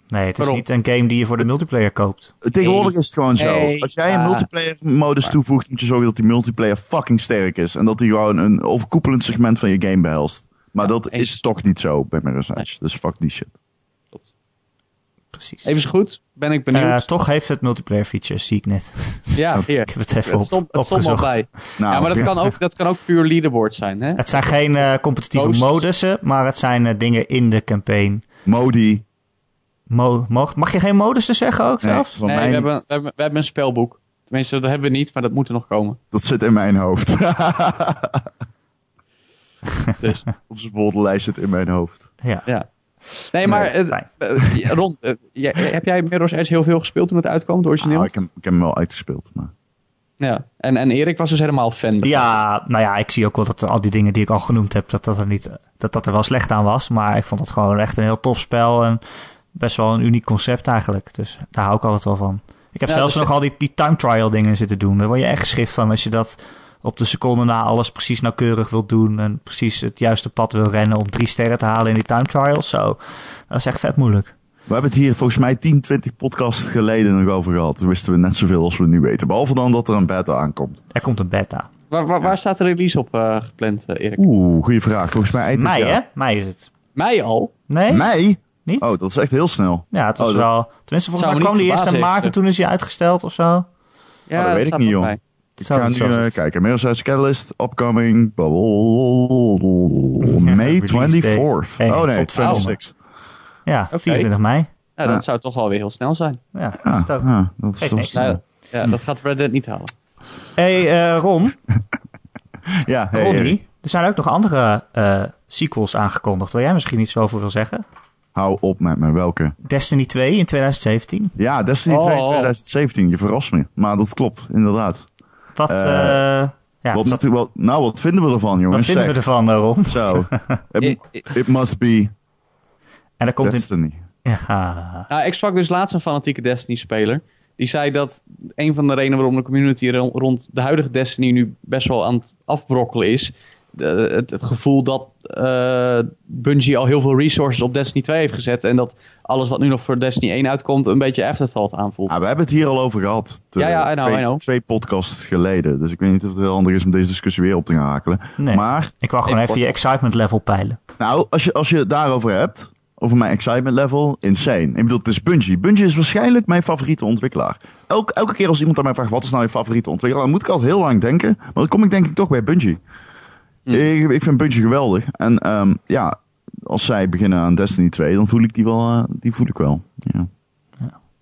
Nee, het is Waarom? niet een game die je voor de multiplayer koopt. Tegenwoordig Nee. is het gewoon zo. Nee, Als jij een ja. multiplayer modus toevoegt, moet je zorgen dat die multiplayer fucking sterk is. En dat die gewoon een overkoepelend segment van je game behelst. Maar dat eens. is toch niet zo bij Mirror's Edge. Dus fuck die shit. Precies. Even zo goed, ben ik Eh, benieuwd. toch heeft het multiplayer features, zie ik net. ja, hier. ik heb het even Het op, stond, het stond al opgezocht. bij. Nou, ja, maar dat kan, ook, dat kan ook puur leaderboard zijn. Hè? Het zijn geen eh, competitieve Posts. modussen, maar het zijn eh, dingen in de campaign. Modi. Mo mag, mag je geen modussen zeggen ook Nee, zelfs? van Nee, mij we niet. hebben, we, hebben, we hebben een spelboek. Tenminste, dat hebben we niet, maar dat moet er nog komen. Dat zit in mijn hoofd. Dus, Onze borderlijst zit in mijn hoofd. Ja. ja. Nee, maar Nee, eh, fijn. eh, Ron, eh, jij- heb jij Mirror's Edge heel veel gespeeld toen het uitkwam, het Nou, origineel? ik, heb, ik heb hem wel uitgespeeld. Maar... Ja. En, en Erik was dus helemaal fan. Ja, nou ja, ik zie ook wel dat al die dingen die ik al genoemd heb, dat dat er, niet, dat dat er wel slecht aan was. Maar ik vond het gewoon echt een heel tof spel en best wel een uniek concept eigenlijk. Dus daar hou ik altijd wel van. Ik heb Ja, zelfs dus- nog al die, die time trial dingen zitten doen. Daar word je echt schif van als je dat op de seconde na alles precies nauwkeurig wilt doen. En precies het juiste pad wil rennen om drie sterren te halen in die time trials. Zo, dat is echt vet moeilijk. We hebben het hier volgens mij 10, 20 podcasts geleden nog over gehad. Toen wisten we net zoveel als we nu weten. Behalve dan dat er een beta aankomt. Er komt een beta. Waar, waar, waar staat de release op eh, gepland, eh, Erik? Oeh, goede vraag. Volgens mij eind dit Mei, jaar. hè? Mei is het. Mei Oh, al? Nee? Mei? Niet? Oh, dat is echt heel snel. Ja, het was Oh, dat- wel... Tenminste, volgens Zou mij me kwam niet die eerst in verbazen, maart en eerst. toen is hij uitgesteld of zo. Ja, dat weet ik staat niet, op joh. mei. Ik Zo, ga zo nu is eh, het. kijken. Mirror's Catalyst, upcoming. Ja, May release 24th. date. Hey, oh nee, godverdomme. 26. Ja, 24 mei. Ja, dat Ah. zou toch wel weer heel snel zijn. Ja, Ja, is het ook. ja, Ah, dat is Geeft toch niks. snel. Ja, ja, dat gaat Red Dead niet halen. hey, eh, Ron, Ja, hey, Erik, Ronnie, er zijn ook nog andere eh, sequels aangekondigd waar jij misschien iets over wil zeggen. hou op met me. Welke? Destiny 2 in 2017. Ja, Destiny Oh. 2 2017. Je verrast me. Maar dat klopt, inderdaad. Wat, Eh, eh, ja, wat, wat, natuurlijk wel, nou, wat vinden we ervan, wat jongens? vinden we Zeg. ervan, eh, Ron? Zo. I- it, I- it must be En daar komt in... Destiny. Ja, Nou, ik sprak dus laatst een fanatieke Destiny-speler. Die zei dat een van de redenen waarom de community ro- rond de huidige Destiny nu best wel aan het afbrokkelen is. de- het, het gevoel dat eh Bungie al heel veel resources op Destiny 2 heeft gezet. En dat alles wat nu nog voor Destiny 1 uitkomt een beetje afterthought aanvoelt. Ah, we hebben het hier al over gehad. Te- Ja, ja, I know, twee, I know. twee podcasts geleden. Dus ik weet niet of het heel handig is om deze discussie weer op te gaan hakelen. nee. Maar, Ik wou gewoon Even even je excitement level peilen. nou, als je, als je het daarover hebt, over mijn excitement level, insane. Ik bedoel, het is Bungie. Bungie is waarschijnlijk mijn favoriete ontwikkelaar. Elk, elke keer als iemand aan mij vraagt, wat is nou je favoriete ontwikkelaar? Dan moet ik altijd heel lang denken. Maar dan kom ik denk ik toch bij Bungie. Hm. Ik, ik vind Bungie geweldig. En ehm, ja, als zij beginnen aan Destiny 2, dan voel ik die wel. eh, die voel ik wel. Ja.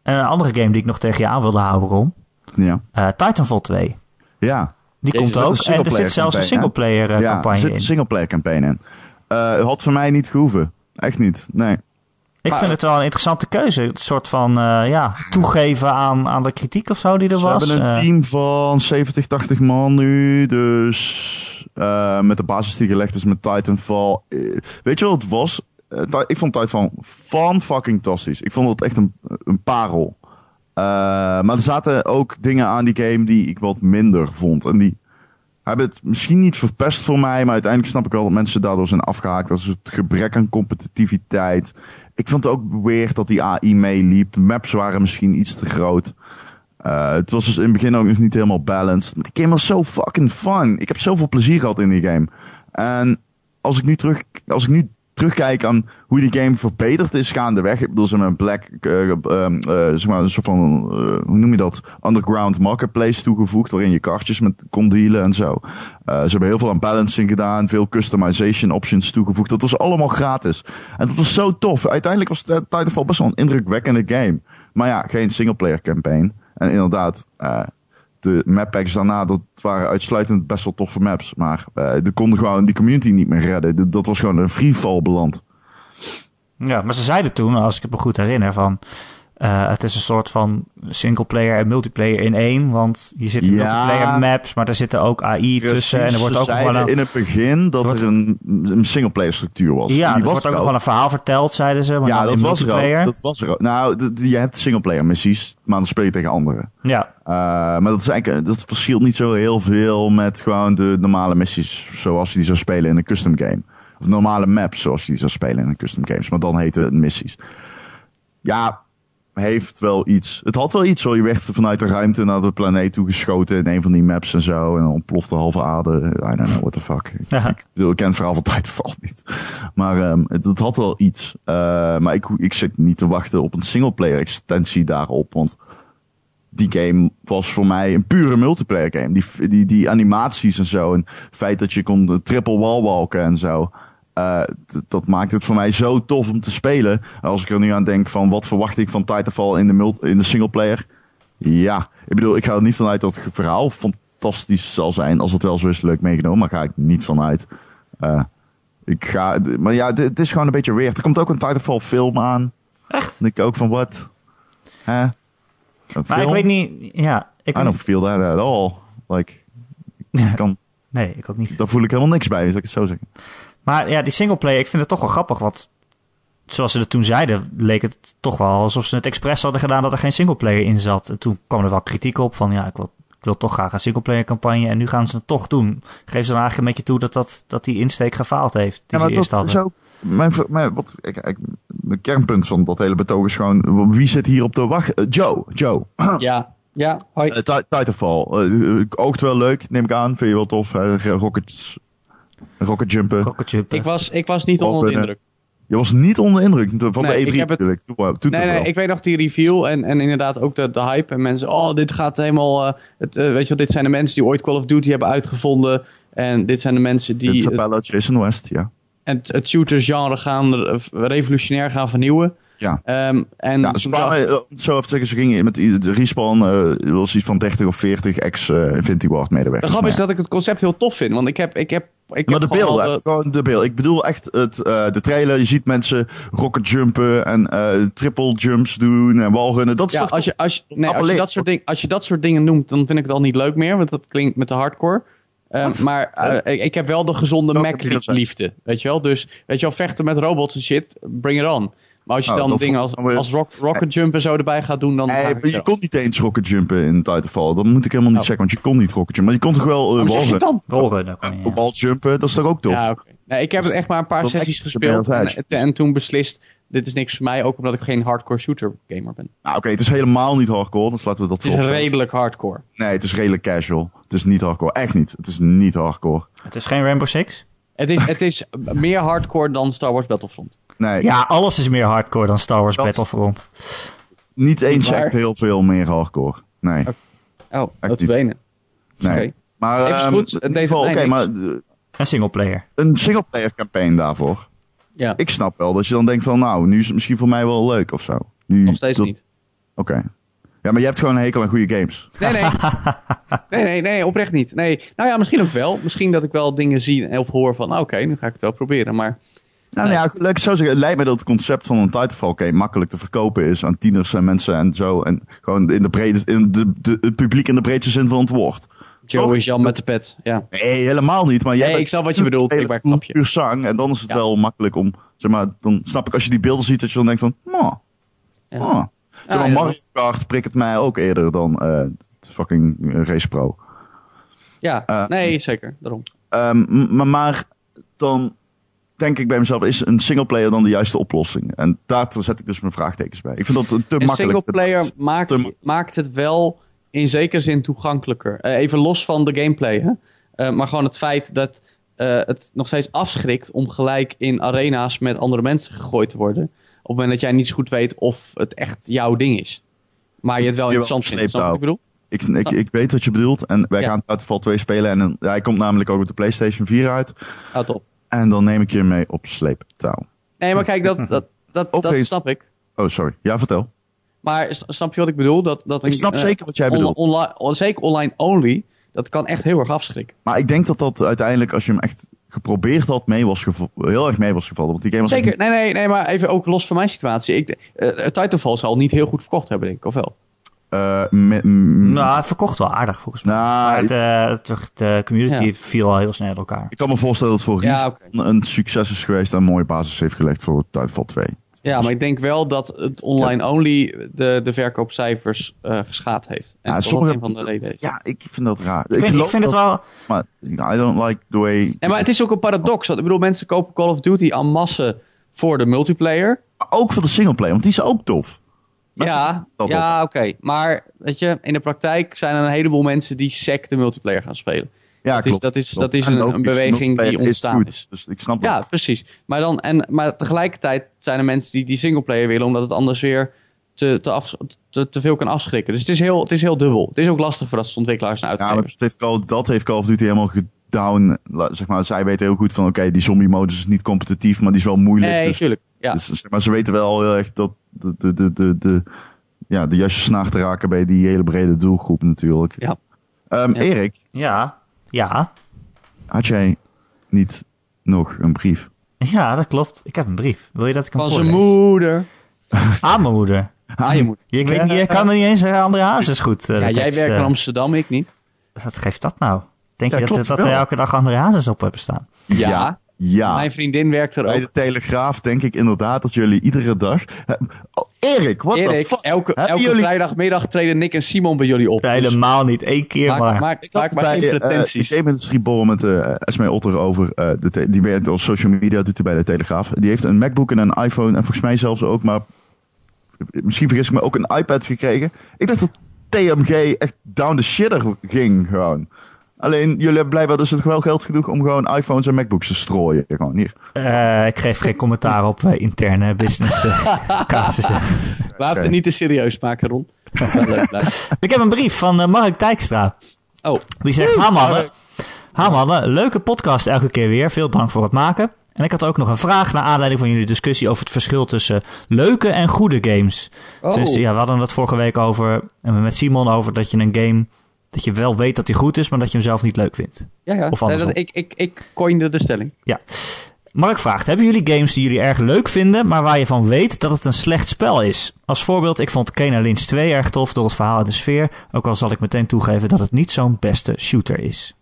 En een andere game die ik nog tegen je aan wilde houden, Ron. Ja. eh, Titanfall 2. ja. Die Jezus, komt dat ook. is een En er zit singleplayer zelfs een campaign, hè? singleplayer eh, ja, er campagne zit in. een singleplayer campaign in. Eh, had voor mij niet gehoeven. Echt niet. Nee. Ik Maar- vind het wel een interessante keuze. Een soort van eh, ja, toegeven aan, aan de kritiek of zo die er Ze was. hebben een Eh, team van 70, 80 man nu. Dus eh, met de basis die gelegd is met Titanfall. eh, weet je wat het was? Eh, Ti- ik vond Titanfall fan fucking tastisch. Ik vond het echt een, een parel. Eh, maar er zaten ook dingen aan die game die ik wat minder vond. En die hebben het misschien niet verpest voor mij. Maar uiteindelijk snap ik wel dat mensen daardoor zijn afgehaakt. Dat is het gebrek aan competitiviteit. Ik vond het ook weird dat die AI meeliep. Maps waren misschien iets te groot. Eh, het was dus in het begin ook nog niet helemaal balanced. Maar die game was zo fucking fun. Ik heb zoveel plezier gehad in die game. En als ik nu, terug, als ik nu terugkijk aan hoe die game verbeterd is gaandeweg. Ik bedoel, ze hebben een black, eh, ehm, eh, zeg maar, een soort van, eh, hoe noem je dat? Underground marketplace toegevoegd. Waarin je kartjes met kon dealen en zo. Eh, ze hebben heel veel aan balancing gedaan. Veel customization options toegevoegd. Dat was allemaal gratis. En dat was zo tof. Uiteindelijk was Ti- Titanfall best wel een indrukwekkende game. Maar ja, geen singleplayer campaign. En inderdaad, eh, de map packs daarna, dat waren uitsluitend best wel toffe maps. Maar eh die konden gewoon die community niet meer redden. Dat- dat was gewoon een freefall beland. Ja, maar ze zeiden toen, als ik het me goed herinner, van eh, het is een soort van singleplayer en multiplayer in één. Want je zit in Ja. multiplayer maps, maar daar zitten ook AI tussen. Dus, eh, En er wordt Ze ook nog wel zeiden een, in het begin dat wordt- er een, een singleplayer structuur was. ja, Die er wordt was ook er nog wel een verhaal verteld, zeiden ze. Maar Ja, dan in dat was, er multiplayer. ook. dat was er ook. Nou, d- d- je hebt singleplayer missies, maar dan speel je tegen anderen. Ja, Eh, maar dat, is eigenlijk, dat verschilt niet zo heel veel met gewoon de normale missies zoals je die zou spelen in een custom game. Of normale maps zoals je die zou spelen in een custom games. Maar dan heten het missies. Ja, heeft wel iets. Het had wel iets hoor. Je werd vanuit de ruimte naar de planeet toe geschoten in een van die maps en zo. En dan ontplofte halve aarde. I don't know, what the fuck. Ik- Ja. Ik bedoel, ik ken het verhaal van Titanfall niet. Maar ehm, het, het had wel iets. Eh, maar ik, ik zit niet te wachten op een singleplayer extensie daarop. Want die game was voor mij een pure multiplayer game. Die, die, die animaties en zo. En het feit dat je kon eh, triple wall walken en zo. eh, d- dat maakt het voor mij zo tof om te spelen. Als ik er nu aan denk van wat verwacht ik van Titanfall in de, mul- in de singleplayer. Ja, ik bedoel, ik ga er niet vanuit dat het verhaal fantastisch zal zijn. Als het wel zo is, leuk meegenomen. Maar ga ik niet vanuit. Eh, ik ga, d- maar ja, d- het is gewoon een beetje weird. Er komt ook een Titanfall film aan. Echt? denk ik ook van wat? Hè? Een maar film? Ah, ik weet niet... Ja, ik weet I don't feel that at all. Like, kan, Nee, ik ook niet. daar voel ik helemaal niks bij, zal ik het zo zeggen. Maar ja, die singleplayer, ik vind het toch wel grappig. Want zoals ze het toen zeiden, leek het toch wel alsof ze het expres hadden gedaan dat er geen singleplayer in zat. En toen kwam er wel kritiek op van ja, ik wil, ik wil toch graag een singleplayer campagne. En nu gaan ze het toch doen. Geef ze dan eigenlijk een beetje toe dat, dat, dat die insteek gefaald heeft die ze eerst hadden. zo. Mijn, ver- mijn, wat, ik, ik, het kernpunt van dat hele betoog is gewoon: wie zit hier op de wacht? Eh, Joe, Joe. Ja, ja, hoi. Eh, Ti- Titanfall. Eh, eh, ookt wel leuk, neem ik aan. Vind je wel tof. hè? rockets, rocket jumpen. Rocketje, Ik was, ik was niet Op onder de een, eh, indruk. Je was niet onder de indruk van Nee, de ik E3 heb het- natuurlijk. Toen, wel- toen Nee, toch nee, wel. ik weet nog die review en, en inderdaad ook de, de hype. En mensen, oh, dit gaat helemaal... eh, het, eh, weet je wel, dit zijn de mensen die ooit Call of Duty hebben uitgevonden. En dit zijn de mensen Dit is die het, Appella, Jason West, ja. het, het shooters-genre gaan, eh, revolutionair gaan vernieuwen. Ja. Ehm, en Ja, ze toen kwamen, dacht- eh, om het zo even te zeggen, ze gingen met i- de respawn, eh was iets van 30 of 40 ex-Infinity Ward de medewerkers. grap Maar is dat ik het concept heel tof vind. Want ik heb... Ik heb ik Maar de heb gewoon beelden, al even gewoon de beelden. Ik bedoel echt het, eh, de trailer. Je ziet mensen rocket jumpen en eh, triple jumps doen en walrunnen. Dat is Ja, toch als je, als, je, nee, als, je Appelleer. dat soort ding, als je dat soort dingen noemt, dan vind ik het al niet leuk meer, want dat klinkt met de hardcore. Eh, maar eh, ik, ik heb wel de gezonde Oh. Welke wereld is Mac-liefde, weet je wel? Dus, weet je wel, vechten met robots en shit, bring it on. Maar als je Nou, dan dat dingen vo- als, dan weer- als rock, rocket jump en zo erbij gaat doen, dan... Nee, ga ik maar er- je kon niet eens rocket jumpen in Titanfall. Dat moet ik helemaal niet Oh. zeggen, want je kon niet rocket jumpen. Maar je kon toch wel eh, Hoe zeg Oh, je het walrunnen. dan? Rollen, Eh, wall jumpen, dat is toch Dus ook tof? Ja, oké. nee, ik heb het echt maar een paar dat is sessies echt de gespeeld best en, edge. en toen beslist, dit is niks voor mij, ook omdat ik geen hardcore shooter gamer ben. Nou, oké, het is helemaal niet hardcore, dus laten we dat Het is voorop stellen. redelijk hardcore. Nee, het is redelijk casual. Het is niet hardcore. Echt niet. Het is niet hardcore. Het is geen Rainbow Six. Het is, het is meer hardcore dan Star Wars Battlefront. Nee, Ja, alles is meer hardcore dan Star Wars Dat- Battlefront. niet eens Waar? echt heel veel meer hardcore. Nee, Oh, Echt dat niet. wenen. nee. Oké. Maar Even ehm, goed, in het ieder deed geval, oké, het mij maar niks. eh, En singleplayer. een singleplayer campaign daarvoor. Ja, Ik snap wel dat je dan denkt van, nou, nu is het misschien voor mij wel leuk of zo. Nu, nog steeds dat- niet. Oké. Ja, maar je hebt gewoon een hekel aan goede games. Nee, nee. nee, nee, nee, oprecht niet. Nee. Nou ja, misschien ook wel. Misschien dat ik wel dingen zie of hoor van, nou, oké, nu ga ik het wel proberen. Maar Nou, nou ja, laat ik het zo zeggen. Het lijkt mij dat het concept van een Titanfall game makkelijk te verkopen is aan tieners en mensen en zo. En gewoon in de brede, in de, de- het publiek in de breedste zin van het woord. Joe Toch? is Jan met de pet. Ja. Nee, helemaal niet. Maar jij Nee, bent- ik snap wat je bedoelt. Ik maak een grapje. Puur zang. En dan is het Ja. wel makkelijk om, zeg maar, dan snap ik als je die beelden ziet dat je dan denkt van, oh, Ja. oh. Zeg Ja, maar, ja, Mario Kart prikt mij ook eerder dan eh, fucking eh, Race Pro. Ja, Eh, nee, zeker. Daarom. Ehm, m- maar, maar dan denk ik bij mezelf, is een singleplayer dan de juiste oplossing? En daar zet ik dus mijn vraagtekens bij. Ik vind dat een te En makkelijk. singleplayer maakt, te ma- maakt het wel in zekere zin toegankelijker. Eh, even los van de gameplay, hè? Eh, maar gewoon het feit dat eh, het nog steeds afschrikt om gelijk in arena's met andere mensen gegooid te worden. Op het moment dat jij niet zo goed weet of het echt jouw ding is. Maar je het wel Jawel, nou. interessant vindt. Snap je wat ik sleeptouw. bedoel? Ik, ik, ik weet wat je bedoelt. En wij Ja. gaan Titanfall 2 spelen. En dan- hij komt namelijk ook op de PlayStation 4 uit. Ah, top. En dan neem ik je mee op sleeptouw. Nee, maar kijk, dat, dat, dat, dat Opeens- snap ik. Oh, sorry. Ja, vertel. Maar s- snap je wat ik bedoel? Dat, dat Ik snap eh, zeker wat jij on- bedoelt. onla- on- zeker online only, dat kan echt heel erg afschrikken. Maar ik denk dat dat uiteindelijk, als je hem echt geprobeerd had, mee was gevo- heel erg mee was gevallen. Want die game was Zeker, echt- nee, nee, nee, maar even ook los van mijn situatie. Ik, eh, Titanfall zal niet heel goed verkocht hebben, denk ik, of wel? eh, me- m- Nou, het verkocht wel aardig volgens mij. nou, Maar ik, het, eh, het- de, community Ja. viel al heel snel uit elkaar. ik kan me voorstellen dat voor Ja, Respawn een succes is geweest en een mooie basis heeft gelegd voor Titanfall 2. Ja, maar ik denk wel dat het online only de, de verkoopcijfers eh, geschaad heeft. En Ja, dat sommige- dat een van de redenen is. Ja, ik vind dat raar. Ik, vind, ik geloof vind het dat- wel... Maar I don't like the way... Nee, maar het is ook een paradox. Want, ik bedoel, mensen kopen Call of Duty en masse voor de multiplayer. Maar Ook voor de singleplayer, want die is ook tof. Maar ja, dat ja oké. Maar weet je, in de praktijk zijn er een heleboel mensen die sec de multiplayer gaan spelen. Ja, Dat is- klopt. dat is- klopt. dat is En een- een logisch, beweging die multiplayer ontstaan goed, is. Dus ik snap Ja, dat. precies. Maar, dan, en, maar tegelijkertijd zijn er mensen die die singleplayer willen, omdat het anders weer te, te, af, te, te veel kan afschrikken. Dus het is, heel, het is heel dubbel. Het is ook lastig voor dat soort ontwikkelaars en Ja, maar dat uitgevers. heeft Call, dat heeft Call of Duty helemaal gedown. La- Zeg maar, zij weten heel goed van, oké, die zombie-modus is niet competitief, maar die is wel moeilijk. nee, dus natuurlijk. Ja. Dus, zeg maar ze weten wel heel erg dat de, de, de, de, de, ja, de juiste snaar te raken bij die hele brede doelgroep natuurlijk. Ja. Ehm, Ja. Erik, Ja, ja, had jij niet nog een brief? ja, dat klopt. Ik heb een brief. Wil je dat ik hem Van zijn voorlees? moeder. Aan mijn moeder. Ah, je moeder. Je, ik weet niet, je kan er niet eens zeggen, André Hazes goed. eh, Ja, de jij tekst, werkt in eh. Amsterdam, ik niet. Wat geeft dat nou? Denk Ja, je dat, klopt dat wel. er elke dag andere hazes op hebben staan? Ja. Ja. ja. Mijn vriendin werkt er Bij ook. de Telegraaf denk ik inderdaad dat jullie iedere dag... Eh, Oh, Erik, wat de Erik, fuck? elke, Hebben elke jullie- vrijdagmiddag treden Nick en Simon bij jullie op. Ja, Dus helemaal niet. Eén keer maak, maar. maak, maak, Ik had maar bij, geen eh, pretenties. Ik deed met een schietbol met eh Esme Otter over. eh, de te- die werkt als social media, doet hij bij de Telegraaf. Die heeft een MacBook en een iPhone en volgens mij zelfs ook, maar misschien vergis ik me, ook een iPad gekregen. Ik dacht dat TMG echt down the shitter ging gewoon. Alleen, jullie hebben blijkbaar dus het wel geld genoeg om gewoon iPhones en MacBooks te strooien. Gewoon hier. Eh, ik geef geen commentaar op eh, interne business eh, casussen. Laten we het niet te serieus maken, Ron. Dat wel leuk blijft. Ik heb een brief van eh, Mark Dijkstra. Oh, Die zegt, ha mannen, ha mannen, leuke podcast elke keer weer. Veel dank voor het maken. En ik had ook nog een vraag naar aanleiding van jullie discussie over het verschil tussen leuke en goede games. Oh. Dus ja, we hadden het vorige week over, en met Simon over dat je een game, dat je wel weet dat die goed is, maar dat je hem zelf niet leuk vindt. ja, ja. Of Nee, andersom. dat, ik, ik, ik coinde de stelling. Mark vraagt, hebben jullie games die jullie erg leuk vinden, maar waar je van weet dat het een slecht spel is? Als voorbeeld, ik vond Kena Lynch 2 erg tof door het verhaal en de sfeer, ook al zal ik meteen toegeven dat het niet zo'n beste shooter is.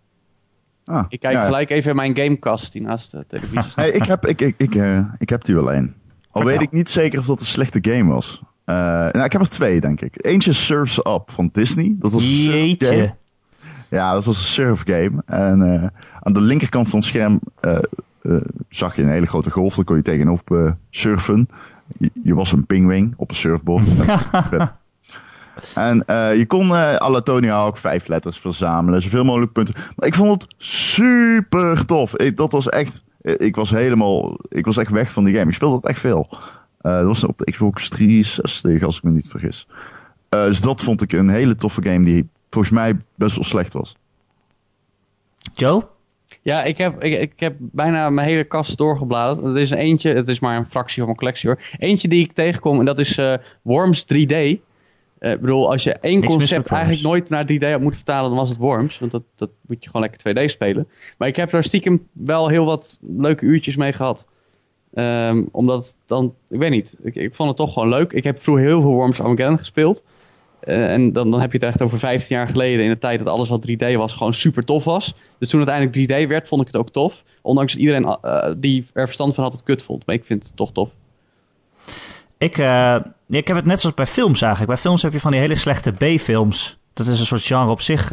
Ah, Ik kijk ja. gelijk even in mijn gamecast die naast de televisie staat. Nee, ik, heb, ik, ik, ik, eh, ik heb die wel één. Al Vertel. weet ik niet zeker of dat een slechte game was. Eh, nou, ik heb er twee, denk ik. Eentje Surf's Up van Disney. Dat was een surfgame. Jeetje. Ja, dat was een surfgame. En eh, aan de linkerkant van het scherm eh, eh, zag je een hele grote golf. Daar kon je tegenop eh, surfen. Je, je was een pingwing op een surfboard. en eh, je kon eh à la Tony Hawk vijf letters verzamelen. Zoveel mogelijk punten. Maar ik vond het super tof. Ik, dat was echt... eh, Ik was helemaal... Ik was echt weg van die game. Ik speelde dat echt veel. Eh, dat was op de Xbox 360, als ik me niet vergis. Eh, dus dat vond ik een hele toffe game die volgens mij best wel slecht was. Joe? Ja, ik heb, ik, ik heb bijna mijn hele kast doorgebladerd. Er is eentje, het is maar een fractie van mijn collectie hoor. Eentje die ik tegenkom en dat is eh, Worms 3D. Eh, Ik bedoel, als je één mis met concept Worms. eigenlijk nooit naar 3D had moeten vertalen, dan was het Worms. Want dat, dat moet je gewoon lekker 2D spelen. Maar ik heb daar stiekem wel heel wat leuke uurtjes mee gehad. Ehm, omdat het dan, ik weet niet, ik, ik vond het toch gewoon leuk. Ik heb vroeger heel veel Worms Armageddon gespeeld. Eh, en dan, dan heb je het echt over 15 jaar geleden, in de tijd dat alles wat 3D was, gewoon super tof was. Dus toen het uiteindelijk 3D werd, vond ik het ook tof. Ondanks dat iedereen eh, die er verstand van had het kut vond. Maar ik vind het toch tof. Ik, eh, ik heb het net zoals bij films eigenlijk. Bij films heb je van die hele slechte B-films. Dat is een soort genre op zich.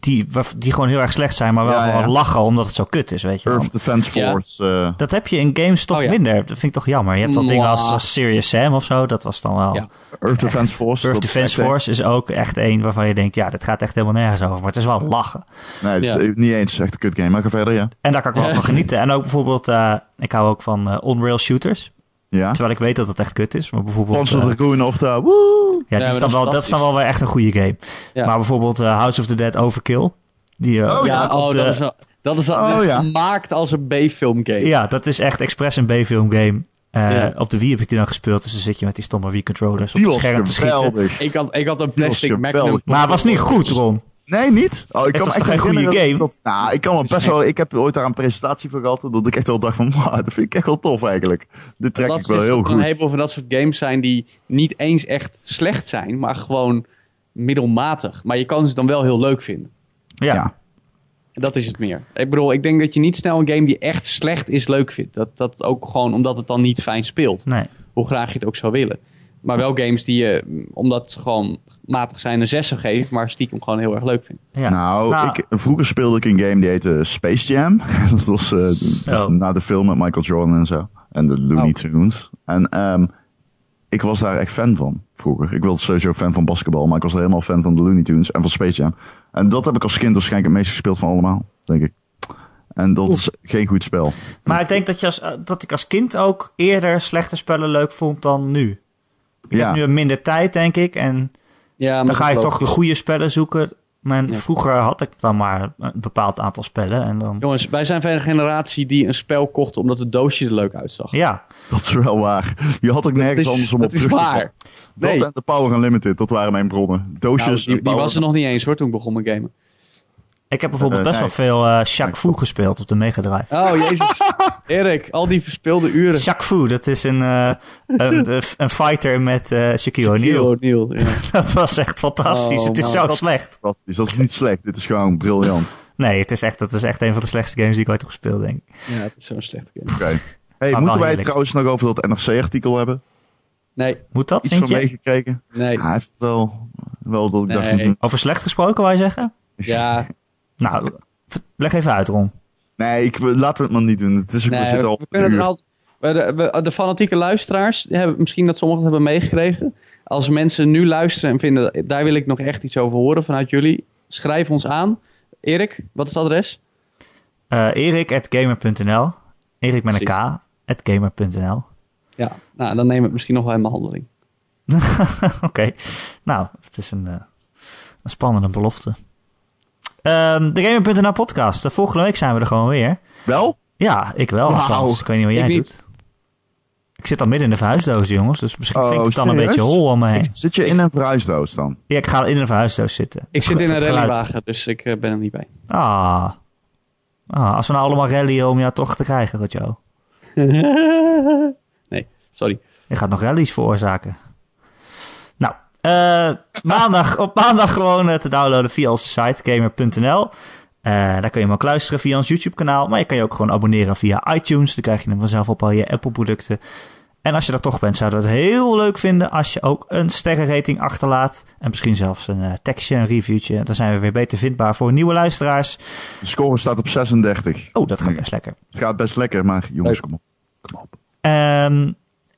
Die, waar- die gewoon heel erg slecht zijn, maar wel Ja, ja. gewoon lachen omdat het zo kut is, weet je wel. Earth Defense Ja. Force. eh, Dat heb je in games toch Oh, ja. minder. Dat vind ik toch jammer. Je hebt dan Mwah. dingen als, als Serious Sam of zo. Dat was dan wel... Ja. Earth Defense Force. Earth dat is Defense echt- eh, Force is ook echt één waarvan je denkt... ja, dit gaat echt helemaal nergens over. Maar het is wel lachen. Nee, het is Ja. niet eens echt een kut game. Maar ga verder, ja. En daar kan ik wel van genieten. En ook bijvoorbeeld... eh, ik hou ook van eh, on-rail shooters. Ja. Terwijl ik weet dat het echt kut is. Maar bijvoorbeeld... Panzer eh, Dragoon of de... Woe! Ja, die Ja, is maar dan dat is wel, dat is dan wel weer echt een goede game. Ja. Maar bijvoorbeeld eh, House of the Dead Overkill. Die, eh, Oh, ja, op oh, de- dat is, al- dat is al- Oh, dat is ja. gemaakt als een B-film game. ja, dat is echt expres een B-film game. Eh, Ja. Op de Wii heb ik die dan gespeeld. Dus dan zit je met die stomme Wii-controllers op Die het was scherm te schieten. geweldig. Ik, had, ik had een Die was plastic geweldig. Magnum. Maar het was niet goed, Ron. Nee, niet? Oh, ik Het kan was me echt toch geen goede herinneren game? Dat, nou, ik kan me best wel... Ik heb ooit daar een presentatie voor gehad. Dat ik echt wel dacht van... "Wauw, dat vind ik echt wel tof eigenlijk. Dit trek dat ik wel heel dat er een goed. heleboel van dat soort games zijn die niet eens echt slecht zijn, maar gewoon middelmatig. Maar je kan ze dan wel heel leuk vinden. Ja. Ja. En Dat is het meer. Ik bedoel, ik denk dat je niet snel een game die echt slecht is leuk vindt. Dat, dat ook gewoon omdat het dan niet fijn speelt. Nee. Hoe graag je het ook zou willen. Maar wel games die je, mm, omdat ze gewoon matig zijn, een 6 zou geven, maar stiekem gewoon heel erg leuk vindt. Ja. Nou, Nou, ik, vroeger speelde ik een game die heette Space Jam. dat was eh, Zo. na de film met Michael Jordan en zo. En de Looney Oh. Tunes. En ehm, ik was daar echt fan van vroeger. Ik was sowieso fan van basketbal, maar ik was helemaal fan van de Looney Tunes en van Space Jam. En dat heb ik als kind waarschijnlijk het meest gespeeld van allemaal, denk ik. En dat is geen goed spel. Maar ik denk dat, je als, eh, dat ik als kind ook eerder slechte spellen leuk vond dan nu. Ik Ja. heb nu minder tijd, denk ik. En Ja, maar dan ga dat je wel- toch de goede spellen zoeken. Maar Ja. vroeger had ik dan maar een bepaald aantal spellen. En dan... Jongens, wij zijn van een generatie die een spel kocht omdat het doosje er leuk uitzag. Ja, Dat is wel waar. Je had ook nergens dat anders is, om op dat is terug te Nou, vallen. waar. Nee. Dat en de Power Unlimited, dat waren mijn bronnen. Nou, Doosjes, die, en die Power- was er nog niet eens hoor, toen ik begon met gamen. Ik heb bijvoorbeeld best wel nee. veel eh Jacques Fou gespeeld op de Mega Drive. Oh, jezus. Erik, al die verspilde uren. Jacques Fou, dat is een, eh, een, een fighter met eh Shaquille O'Neal. O'Neal, ja. Dat was echt fantastisch. Oh, het is man. zo slecht. Dat is, dat is niet slecht. Dit is gewoon briljant. Nee, het is echt, dat is echt een van de slechtste games die ik ooit heb gespeeld, denk ik. ja, het is zo'n slecht game. Oké. Hey, wel moeten wij het heerlijk. trouwens nog over dat NRC-artikel hebben? Nee, Moet dat, Iets vind van je? meegekregen? nee. Hij heeft het wel, wel dat ik dacht van... Nee. hm. Over slecht gesproken, wou je zeggen? dus- Ja, Nou, v- leg even uit, Ron. Nee, ik, laten we het maar niet doen. Het is ook, nee, Dus we zitten al we op kunnen een er uur. altijd. we- De, we- de fanatieke luisteraars, die hebben, misschien dat sommigen het hebben meegekregen. Als mensen nu luisteren en vinden, daar wil ik nog echt iets over horen vanuit jullie, schrijf ons aan. Erik, wat is het adres? Eh Erik at gamer.nl. Erik met een Precies. K. At gamer.nl. Ja, nou, dan nemen we het misschien nog wel in behandeling. Oké. Nou, het is een, eh, een spannende belofte. Ehm, de gamer.nl podcast. Eh, Volgende week zijn we er gewoon weer. Wel? Ja, ik wel. Wauw. althans. Ik weet niet wat Ik jij niet. doet. Ik zit al midden in de verhuisdoos, jongens. Dus misschien Oh, klinkt het dan een serieus? beetje hol om me heen. Zit je in een verhuisdoos dan? Ja, ik ga in een verhuisdoos zitten. Ik zit in een Het geluid. rallywagen, dus ik eh, ben er niet bij. Ah. ah. Als we nou allemaal rallyen om jou toch te krijgen, Rotjo. nee, sorry. Je gaat nog rallies veroorzaken. Nou, eh, maandag, op maandag gewoon eh, te downloaden via onze site gamer.nl. Eh, daar kun je hem ook luisteren via ons YouTube-kanaal. Maar je kan je ook gewoon abonneren via iTunes. Dan krijg je hem vanzelf op al je Apple-producten. En als je daar toch bent, zouden we het heel leuk vinden als je ook een sterrenrating achterlaat. En misschien zelfs een eh, tekstje, een reviewtje. Dan zijn we weer beter vindbaar voor nieuwe luisteraars. De score staat op 36. Oh, dat gaat best lekker. Het gaat best lekker, maar jongens, Leuk. kom op. Kom op. Ehm,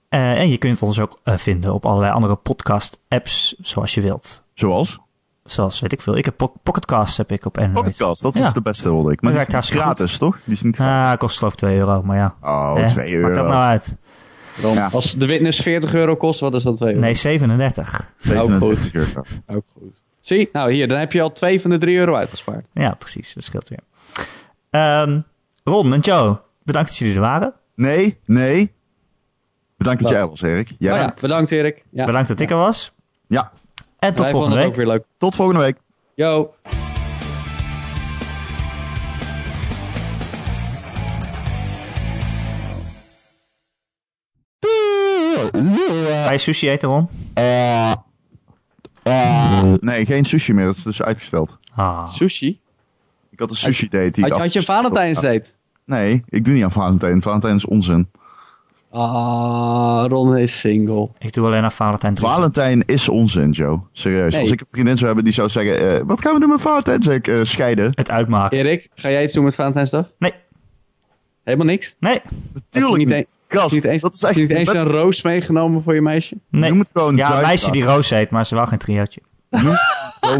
eh, en je kunt ons ook eh, vinden op allerlei andere podcast-apps zoals je wilt. Zoals? Zoals weet ik veel. Ik heb po- Pocketcasts heb ik op Android. Podcast, dat Ja. is de beste hoorde ik. Maar Dat die werkt is niet hartstikke gratis, toch? Die is niet gratis. Ah, kost geloof ik 2 euro, maar ja. Oh, Eh, 2 Maakt dat euro. nou uit? Ron, Ja. Als de witness 40 euro kost, wat is dan 2 euro? Nee, 37. 37 euro. Ook goed. Zie, nou hier, dan heb je al 2 van de 3 euro uitgespaard. Ja, precies. Dat scheelt weer. Ehm, Ron en Joe, bedankt dat jullie er waren. Nee, nee. Bedankt dat jij Wat? er was, Erik. Jij Nou ja, bent- bedankt Erik. Ja. Bedankt dat ik er was. Ja, En tot Wij volgende vonden het ook week. weer leuk. tot volgende week. Yo. Ga je sushi eten, Ron? Nee, geen sushi meer. Dat is dus uitgesteld. Ah, Sushi? Ik had een sushi date. Die Had, ik je- had je een afgesteld had. Valentijnsdate? Nee, ik doe niet aan Valentijn. Valentijn is onzin. Ah, Ron is single. ik doe alleen aan Valentijn. drinken. Valentijn is onzin, Joe. Serieus. Nee. Als ik een vriendin zou hebben die zou zeggen: eh, Wat gaan we doen met Valentijn? Zeg ik: eh, Scheiden. Het uitmaken. Erik, ga jij iets doen met Valentijnsdag? Nee, Helemaal niks? nee, Natuurlijk niet niet. eens- Gast, Niet eens, dat is heb echt. je niet eens wet- een roos meegenomen voor je meisje? nee. Noem het gewoon ja, een duimdag. meisje die roos heet, maar ze wel geen triootje. Noem, Joe,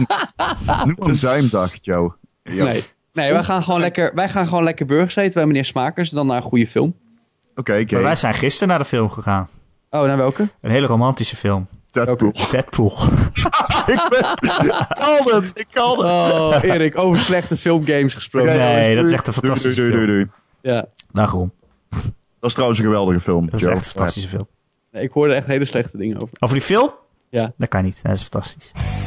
noem een duimdag, Joe. Ja. Nee. Nee, wij gaan, gewoon lekker, wij gaan gewoon lekker burgers eten bij meneer Smakers. Dan naar een goede film. Oké, oké. Maar wij zijn gisteren naar de film gegaan. Oh, naar welke? Een hele romantische film. Deadpool. Deadpool. ik ben. Ik kan het. Ik kan het. Oh, Erik, over slechte filmgames gesproken. Oké, Nee, jongens, dat is doei. echt een Doei, doei, fantastische doei, doei, doei. Ja, Daarom. Dat is trouwens een geweldige film. Dat is Joe. echt een fantastische film. ik hoorde echt hele slechte dingen over. Over die film? Ja. Dat kan niet. Dat is fantastisch.